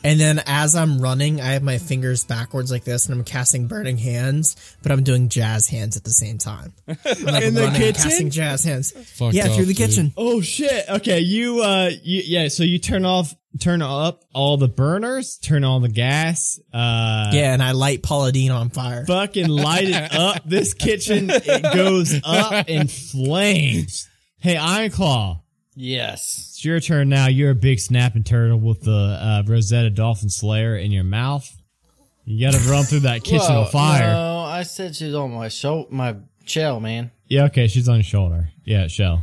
Speaker 5: And then as I'm running, I have my fingers backwards like this, and I'm casting burning hands, but I'm doing jazz hands at the same time. I'm like
Speaker 1: In the
Speaker 5: running,
Speaker 1: kitchen?
Speaker 5: casting jazz hands.
Speaker 3: Fucked
Speaker 5: yeah, through
Speaker 3: up,
Speaker 5: the
Speaker 3: dude.
Speaker 5: kitchen.
Speaker 1: Oh shit. Okay, you uh you, yeah, so you turn off turn up all the burners, turn all the gas, uh
Speaker 5: yeah, and I light Paula Deen on fire.
Speaker 1: fucking light it up. This kitchen it goes up in flames. Hey, Iron Claw,
Speaker 6: Yes.
Speaker 1: it's your turn now. You're a big snapping turtle with the uh, Rosetta Dolphin Slayer in your mouth. You gotta run through that kitchen
Speaker 6: Whoa,
Speaker 1: of fire.
Speaker 6: No, I said she's on my show, my shell, man.
Speaker 1: Yeah, okay, she's on your shoulder. Yeah, Shell.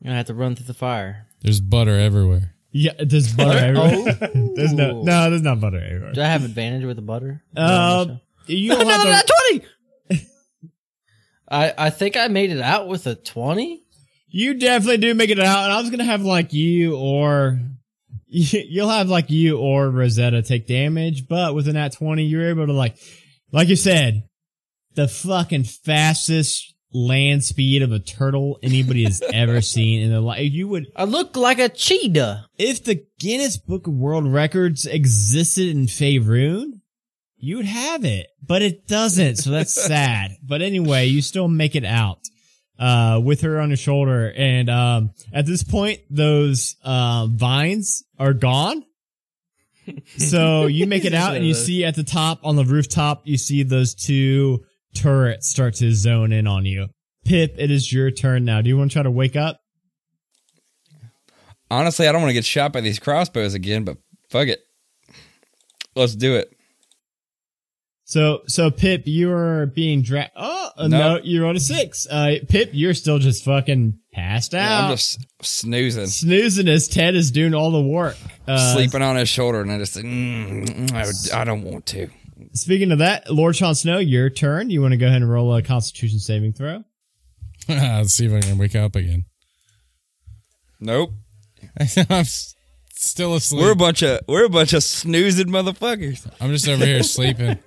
Speaker 6: I'm gonna have to run through the fire.
Speaker 3: There's butter everywhere.
Speaker 1: Yeah, there's butter everywhere.
Speaker 6: Oh,
Speaker 1: there's no, no, there's not butter everywhere.
Speaker 6: Do I have advantage with the butter?
Speaker 1: Um, you don't have to-
Speaker 6: twenty. I I think I made it out with a twenty.
Speaker 1: You definitely do make it out, and I was gonna have like you or you'll have like you or Rosetta take damage, but within that twenty, you're able to like, like you said, the fucking fastest land speed of a turtle anybody has ever seen in their life. You would
Speaker 6: I look like a cheetah.
Speaker 1: if the Guinness Book of World Records existed in Faerun, you would have it, but it doesn't, so that's sad. But anyway, you still make it out uh, with her on your shoulder, and um, at this point, those uh, vines are gone. So you make it out, and you see at the top on the rooftop, you see those two turrets start to zone in on you. Pip, it is your turn now. Do you want to try to wake up?
Speaker 2: Honestly, I don't want to get shot by these crossbows again, but fuck it. Let's do it.
Speaker 1: So, so Pip, you're being dragged. Oh uh, no.
Speaker 2: No.
Speaker 1: you rolled a six. Uh, Pip, you're still just fucking passed out,
Speaker 2: I'm just snoozing,
Speaker 1: snoozing as Ted is doing all the work. Uh,
Speaker 2: sleeping on his shoulder, and I just, mm, I, would- I don't want to.
Speaker 1: Speaking of that, Lord Sean Snow, your turn. You want to go ahead and roll a Constitution saving throw?
Speaker 3: Let's see if I can wake up again.
Speaker 2: Nope.
Speaker 3: I'm s- still asleep.
Speaker 2: We're a bunch of we're a bunch of snoozing motherfuckers.
Speaker 3: I'm just over here sleeping.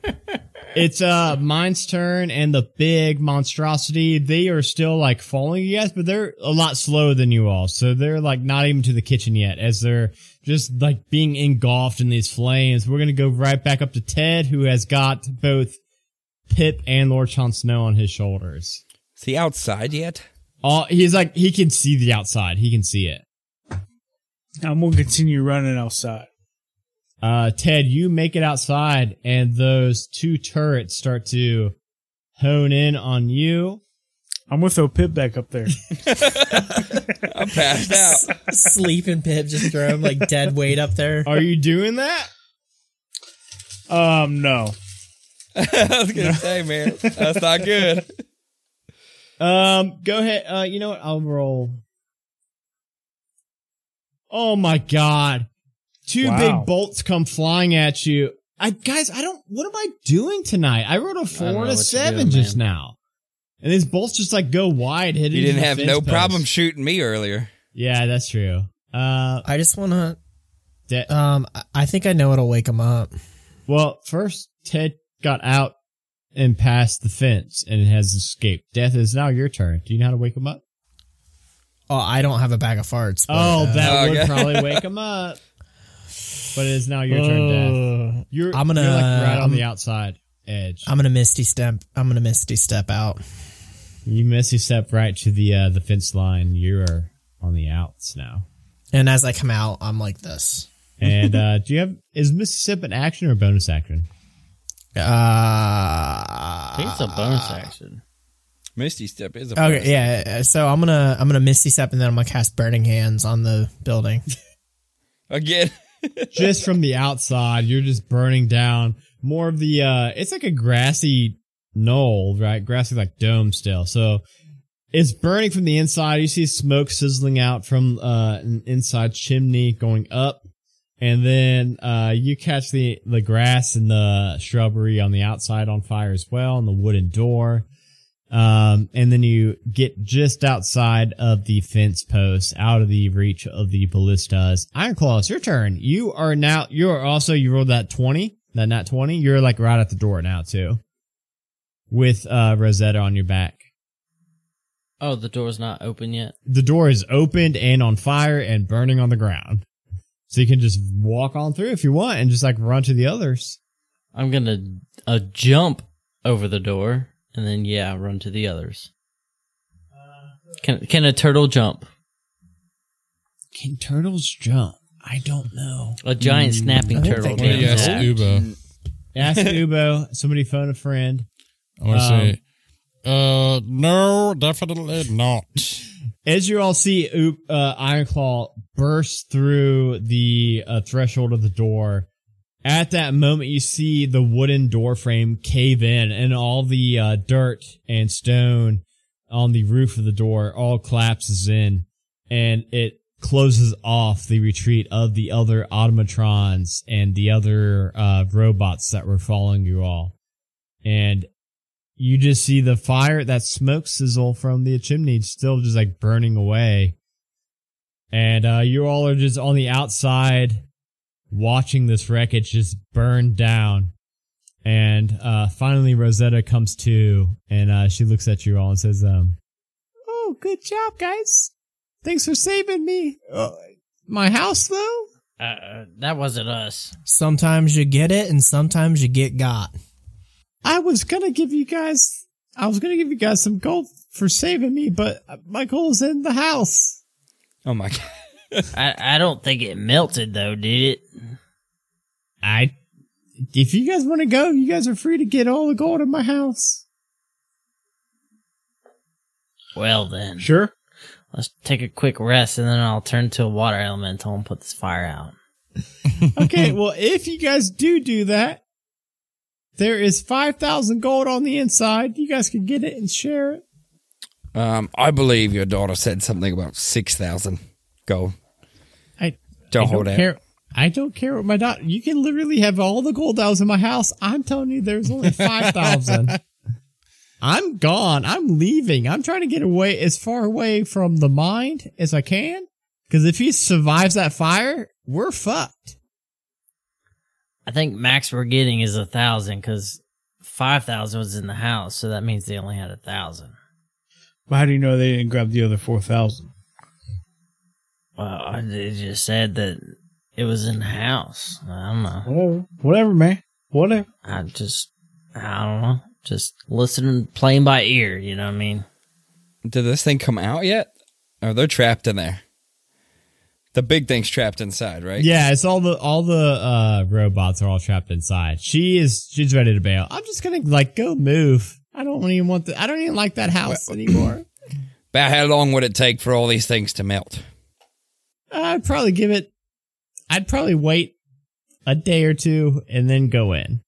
Speaker 1: It's uh mine's turn and the big monstrosity. They are still like following you guys, but they're a lot slower than you all. So they're like not even to the kitchen yet, as they're just like being engulfed in these flames. We're gonna go right back up to Ted, who has got both Pip and Lord Chon Snow on his shoulders.
Speaker 2: Is he outside yet?
Speaker 1: All he's like he can see the outside. He can see it.
Speaker 4: I'm going to continue running outside.
Speaker 1: Uh, Ted, you make it outside, and those two turrets start to hone in on you.
Speaker 4: I'm going to throw Pip back up there.
Speaker 2: I'm passed out.
Speaker 5: Sleeping Pip, just throw him like dead weight up there.
Speaker 1: Are you doing that?
Speaker 4: Um, no.
Speaker 2: I was gonna say, man, that's not good.
Speaker 1: Um, go ahead. Uh, you know what? I'll roll. Oh my god. Two
Speaker 4: Wow.
Speaker 1: big bolts come flying at you. I guys, I don't what am I doing tonight? I rolled a
Speaker 6: know
Speaker 1: four and
Speaker 6: what
Speaker 1: a
Speaker 6: you're
Speaker 1: seven
Speaker 6: doing,
Speaker 1: just
Speaker 6: man.
Speaker 1: now. And these bolts just like go wide, hidden.
Speaker 2: You
Speaker 1: into
Speaker 2: didn't
Speaker 1: the
Speaker 2: have
Speaker 1: fence
Speaker 2: no
Speaker 1: post.
Speaker 2: problem shooting me earlier.
Speaker 1: yeah, that's true. Uh,
Speaker 5: I just want to.
Speaker 1: de-
Speaker 5: Um, I- I think I know what'll wake him up.
Speaker 1: well, first Ted got out and past the fence and has escaped. Death is now your turn. Do you know how to wake him up?
Speaker 5: Oh, I don't have a bag of farts. but,
Speaker 1: Oh,
Speaker 5: uh,
Speaker 1: that
Speaker 2: Oh,
Speaker 1: would
Speaker 2: okay.
Speaker 1: probably wake him up. But it is now your turn, Death.
Speaker 5: Ugh.
Speaker 1: You're,
Speaker 5: I'm gonna-
Speaker 1: you're like right on
Speaker 5: I'm-
Speaker 1: the outside edge.
Speaker 5: I'm gonna misty step. I'm gonna misty step out.
Speaker 1: you miss, you step right to the uh, the fence line. You are on the outs now.
Speaker 5: And as I come out, I'm like this.
Speaker 1: And uh, do you have is Mississippi an action or a bonus action?
Speaker 5: Uh,
Speaker 6: I think it's a bonus action.
Speaker 2: Misty step is a
Speaker 5: okay, yeah. uh, So I'm gonna I'm gonna misty step and then I'm gonna cast burning hands on the building.
Speaker 2: again.
Speaker 1: just from the outside, you're just burning down more of the uh it's like a grassy knoll, right? Grassy like dome still. So it's burning from the inside. You see smoke sizzling out from uh an inside chimney going up. And then uh you catch the the grass and the shrubbery on the outside on fire as well and the wooden door. Um, and then you get just outside of the fence post, out of the reach of the ballistas. Iron Claw, it's your turn. You are now, you are also, you rolled that 20, that not 20. You're like right at the door now too. With, uh, Rosetta on your back.
Speaker 6: Oh, the door's not open yet.
Speaker 1: The door is opened and on fire and burning on the ground. So you can just walk on through if you want and just like run to the others.
Speaker 6: I'm gonna uh, jump over the door and then yeah, run to the others. Can can a turtle jump?
Speaker 1: Can turtles jump? I don't know.
Speaker 6: A giant snapping
Speaker 5: I don't
Speaker 6: turtle.
Speaker 5: think
Speaker 3: Why do you
Speaker 6: jumps.
Speaker 3: ask Ubo?
Speaker 1: Ask Ubo. Somebody phone a friend.
Speaker 3: I want to
Speaker 1: Um,
Speaker 3: say, uh, no, definitely not.
Speaker 1: As you all see, Oop, uh, Ironclaw burst through the uh, threshold of the door. At that moment, you see the wooden door frame cave in, and all the uh, dirt and stone on the roof of the door all collapses in, and it closes off the retreat of the other automatrons and the other uh, robots that were following you all. And you just see the fire, that smoke sizzle from the chimney still just like burning away. And uh, you all are just on the outside watching this wreckage just burn down. And uh, finally, Rosetta comes to and uh, she looks at you all and says, um, Oh, good job, guys. Thanks for saving me. Uh, my house, though?
Speaker 6: Uh, uh, that wasn't us.
Speaker 5: Sometimes you get it, and sometimes you get got.
Speaker 1: I was gonna give you guys, I was gonna give you guys some gold for saving me, but uh, my gold's in the house.
Speaker 2: Oh my god!
Speaker 6: I I don't think it melted though, did it?
Speaker 1: I, if you guys want to go, you guys are free to get all the gold in my house.
Speaker 6: Well then,
Speaker 4: Sure.
Speaker 6: let's take a quick rest and then I'll turn to a water elemental and put this fire out.
Speaker 1: Okay, well, if you guys do do that, there is 5,000 gold on the inside. You guys can get it and share it.
Speaker 2: Um, I believe your daughter said something about six thousand. Go.
Speaker 1: I
Speaker 2: Don't
Speaker 1: I
Speaker 2: hold
Speaker 1: don't
Speaker 2: out.
Speaker 1: care. I don't care what my daughter. You can literally have all the gold that was in my house. I'm telling you, there's only five thousand. I'm gone. I'm leaving. I'm trying to get away as far away from the mind as I can. Because if he survives that fire, we're fucked.
Speaker 6: I think max we're getting is a thousand because five thousand was in the house, so that means they only had a thousand.
Speaker 4: But how do you know they didn't grab the other 4,000?
Speaker 6: Well, I- they just said that it was in the house. I don't know.
Speaker 4: Whatever. Whatever, man. Whatever.
Speaker 6: I just, I don't know. Just listening, playing by ear. You know what I mean?
Speaker 2: Did this thing come out yet? Oh, they're trapped in there. The big thing's trapped inside, right?
Speaker 1: Yeah, it's all the all the uh, robots are all trapped inside. She is she's ready to bail. I'm just gonna like go move. I don't even want the. I don't even like that house anymore.
Speaker 2: About how long would it take for all these things to melt?
Speaker 1: I'd probably give it. I'd probably wait a day or two and then go in.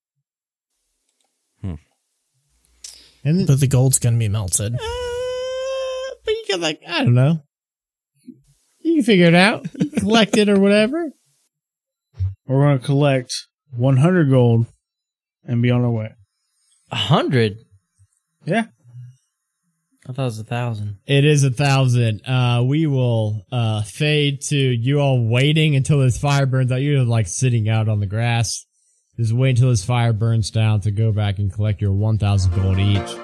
Speaker 1: And then,
Speaker 5: But the gold's gonna be melted.
Speaker 1: uh, but you can like I don't know. You can figure it out. You can collect it or whatever.
Speaker 4: We're going to collect 100 gold and be on our way.
Speaker 6: A hundred.
Speaker 4: Yeah.
Speaker 6: I thought it was a thousand.
Speaker 8: It is a thousand. Uh, we will uh, fade to you all waiting until this fire burns out. You're like sitting out on the grass. Just wait until this fire burns down to go back and collect your 1,000 gold each.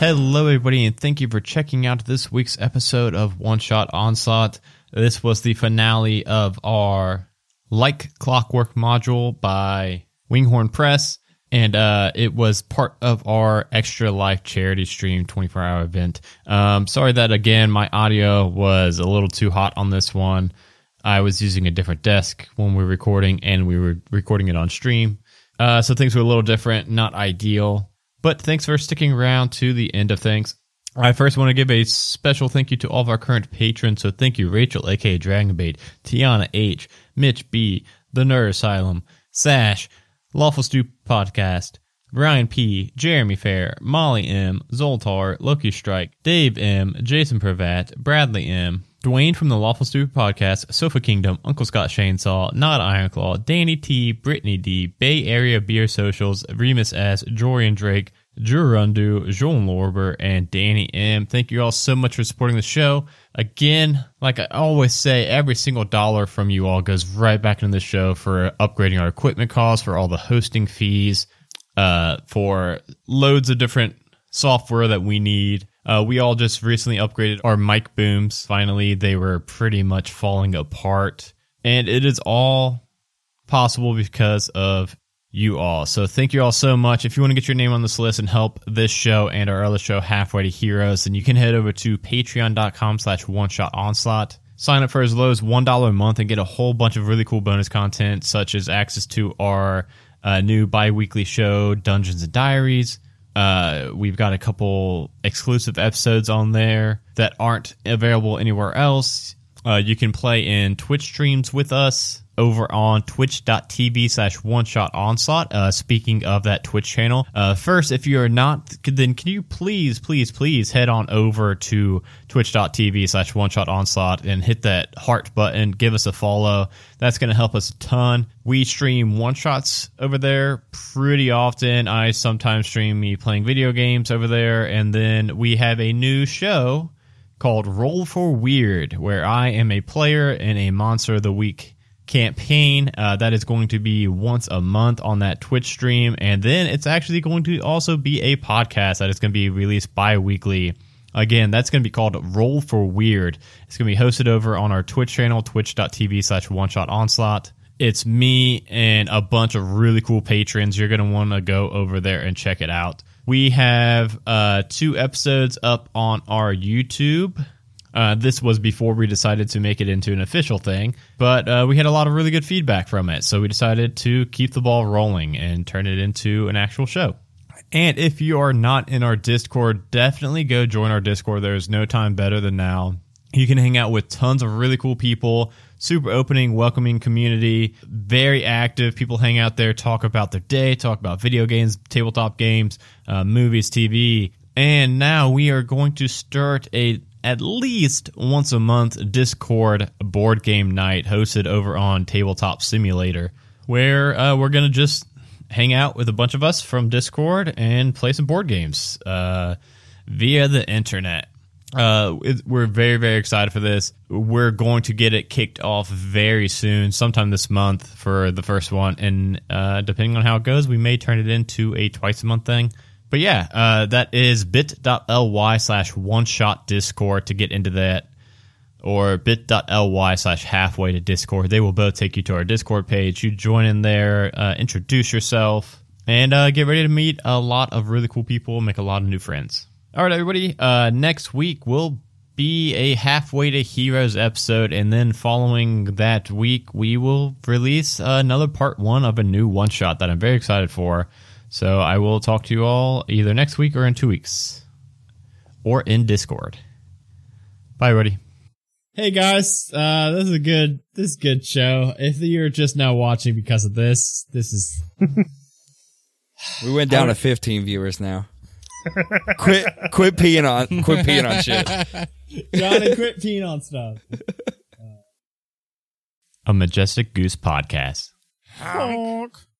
Speaker 1: Hello, everybody, and thank you for checking out this week's episode of One Shot Onslaught. This was the finale of our Like Clockwork module by Winghorn Press, and uh, it was part of our Extra Life charity stream 24 hour event. Um, sorry that again, my audio was a little too hot on this one. I was using a different desk when we were recording, and we were recording it on stream. Uh, so things were a little different, not ideal, but thanks for sticking around to the end of things. I first want to give a special thank you to all of our current patrons. So thank you, Rachel, aka Dragonbait, Tiana H, Mitch B, The Nerd Asylum, Sash, Lawful Stew Podcast, Brian P, Jeremy Fair, Molly M, Zoltar, Loki Strike, Dave M, Jason Pravat, Bradley M, Dwayne from the Lawful Stupid Podcast, Sofa Kingdom, Uncle Scott Shainsaw, Not Ironclaw, Danny T, Brittany D, Bay Area Beer Socials, Remus S, Jorian Drake, Jurundu, Joan Lorber, and Danny M. Thank you all so much for supporting the show. Again, like I always say, every single dollar from you all goes right back into the show for upgrading our equipment costs, for all the hosting fees, uh, for loads of different software that we need. Uh, we all just recently upgraded our mic booms. Finally, they were pretty much falling apart, and it is all possible because of you all. So thank you all so much. If you want to get your name on this list and help this show and our other show halfway to heroes, then you can head over to patreon.com slash one shot onslaught. Sign up for as low as $1 a month and get a whole bunch of really cool bonus content, such as access to our uh, new bi-weekly show, Dungeons and Diaries. Uh, we've got a couple exclusive episodes on there that aren't available anywhere else. Uh, you can play in Twitch streams with us over on twitch.tv slash one shot onslaught. Uh, speaking of that Twitch channel, uh, first, if you are not, then can you please, please, please head on over to twitch.tv slash one shot onslaught and hit that heart button. Give us a follow. That's going to help us a ton. We stream one shots over there pretty often. I sometimes stream me playing video games over there. And then we have a new show called Roll for Weird, where I am a player in a Monster of the Week campaign. Uh, that is going to be once a month on that Twitch stream. And then it's actually going to also be a podcast that is going to be released bi weekly. Again, that's going to be called Roll for Weird. It's going to be hosted over on our Twitch channel, twitch.tv slash one shot onslaught. It's me and a bunch of really cool patrons. You're going to want to go over there and check it out. We have uh, two episodes up on our YouTube. Uh, this was before we decided to make it into an official thing, but uh, we had a lot of really good feedback from it. So we decided to keep the ball rolling and turn it into an actual show. And if you are not in our Discord, definitely go join our Discord. There is no time better than now. You can hang out with tons of really cool people, super opening, welcoming community, very active. People hang out there, talk about their day, talk about video games, tabletop games, uh, movies, TV. And now we are going to start a at least once a month Discord board game night hosted over on Tabletop Simulator, where uh, we're going to just hang out with a bunch of us from Discord and play some board games uh, via the internet. Uh, it- we're very, very excited for this. We're going to get it kicked off very soon, sometime this month for the first one. And uh, depending on how it goes, we may turn it into a twice a month thing. But yeah, uh, that is bit.ly slash one shot discord to get into that or bit.ly slash halfway to discord. They will both take you to our discord page. You join in there, uh, introduce yourself and uh, get ready to meet a lot of really cool people, make a lot of new friends. All right, everybody. Uh, next week we'll be a halfway to heroes episode, and then following that week, we will release another part one of a new one shot that I'm very excited for. So I will talk to you all either next week or in two weeks, or in Discord. Bye, everybody.
Speaker 9: Hey guys, uh, this is a good this is a good show. If you're just now watching because of this, this is
Speaker 2: We went down to 15 viewers now. quit, quit peeing on, quit peeing on shit.
Speaker 9: Johnny quit peeing on stuff.
Speaker 1: A Majestic Goose podcast.
Speaker 10: Honk.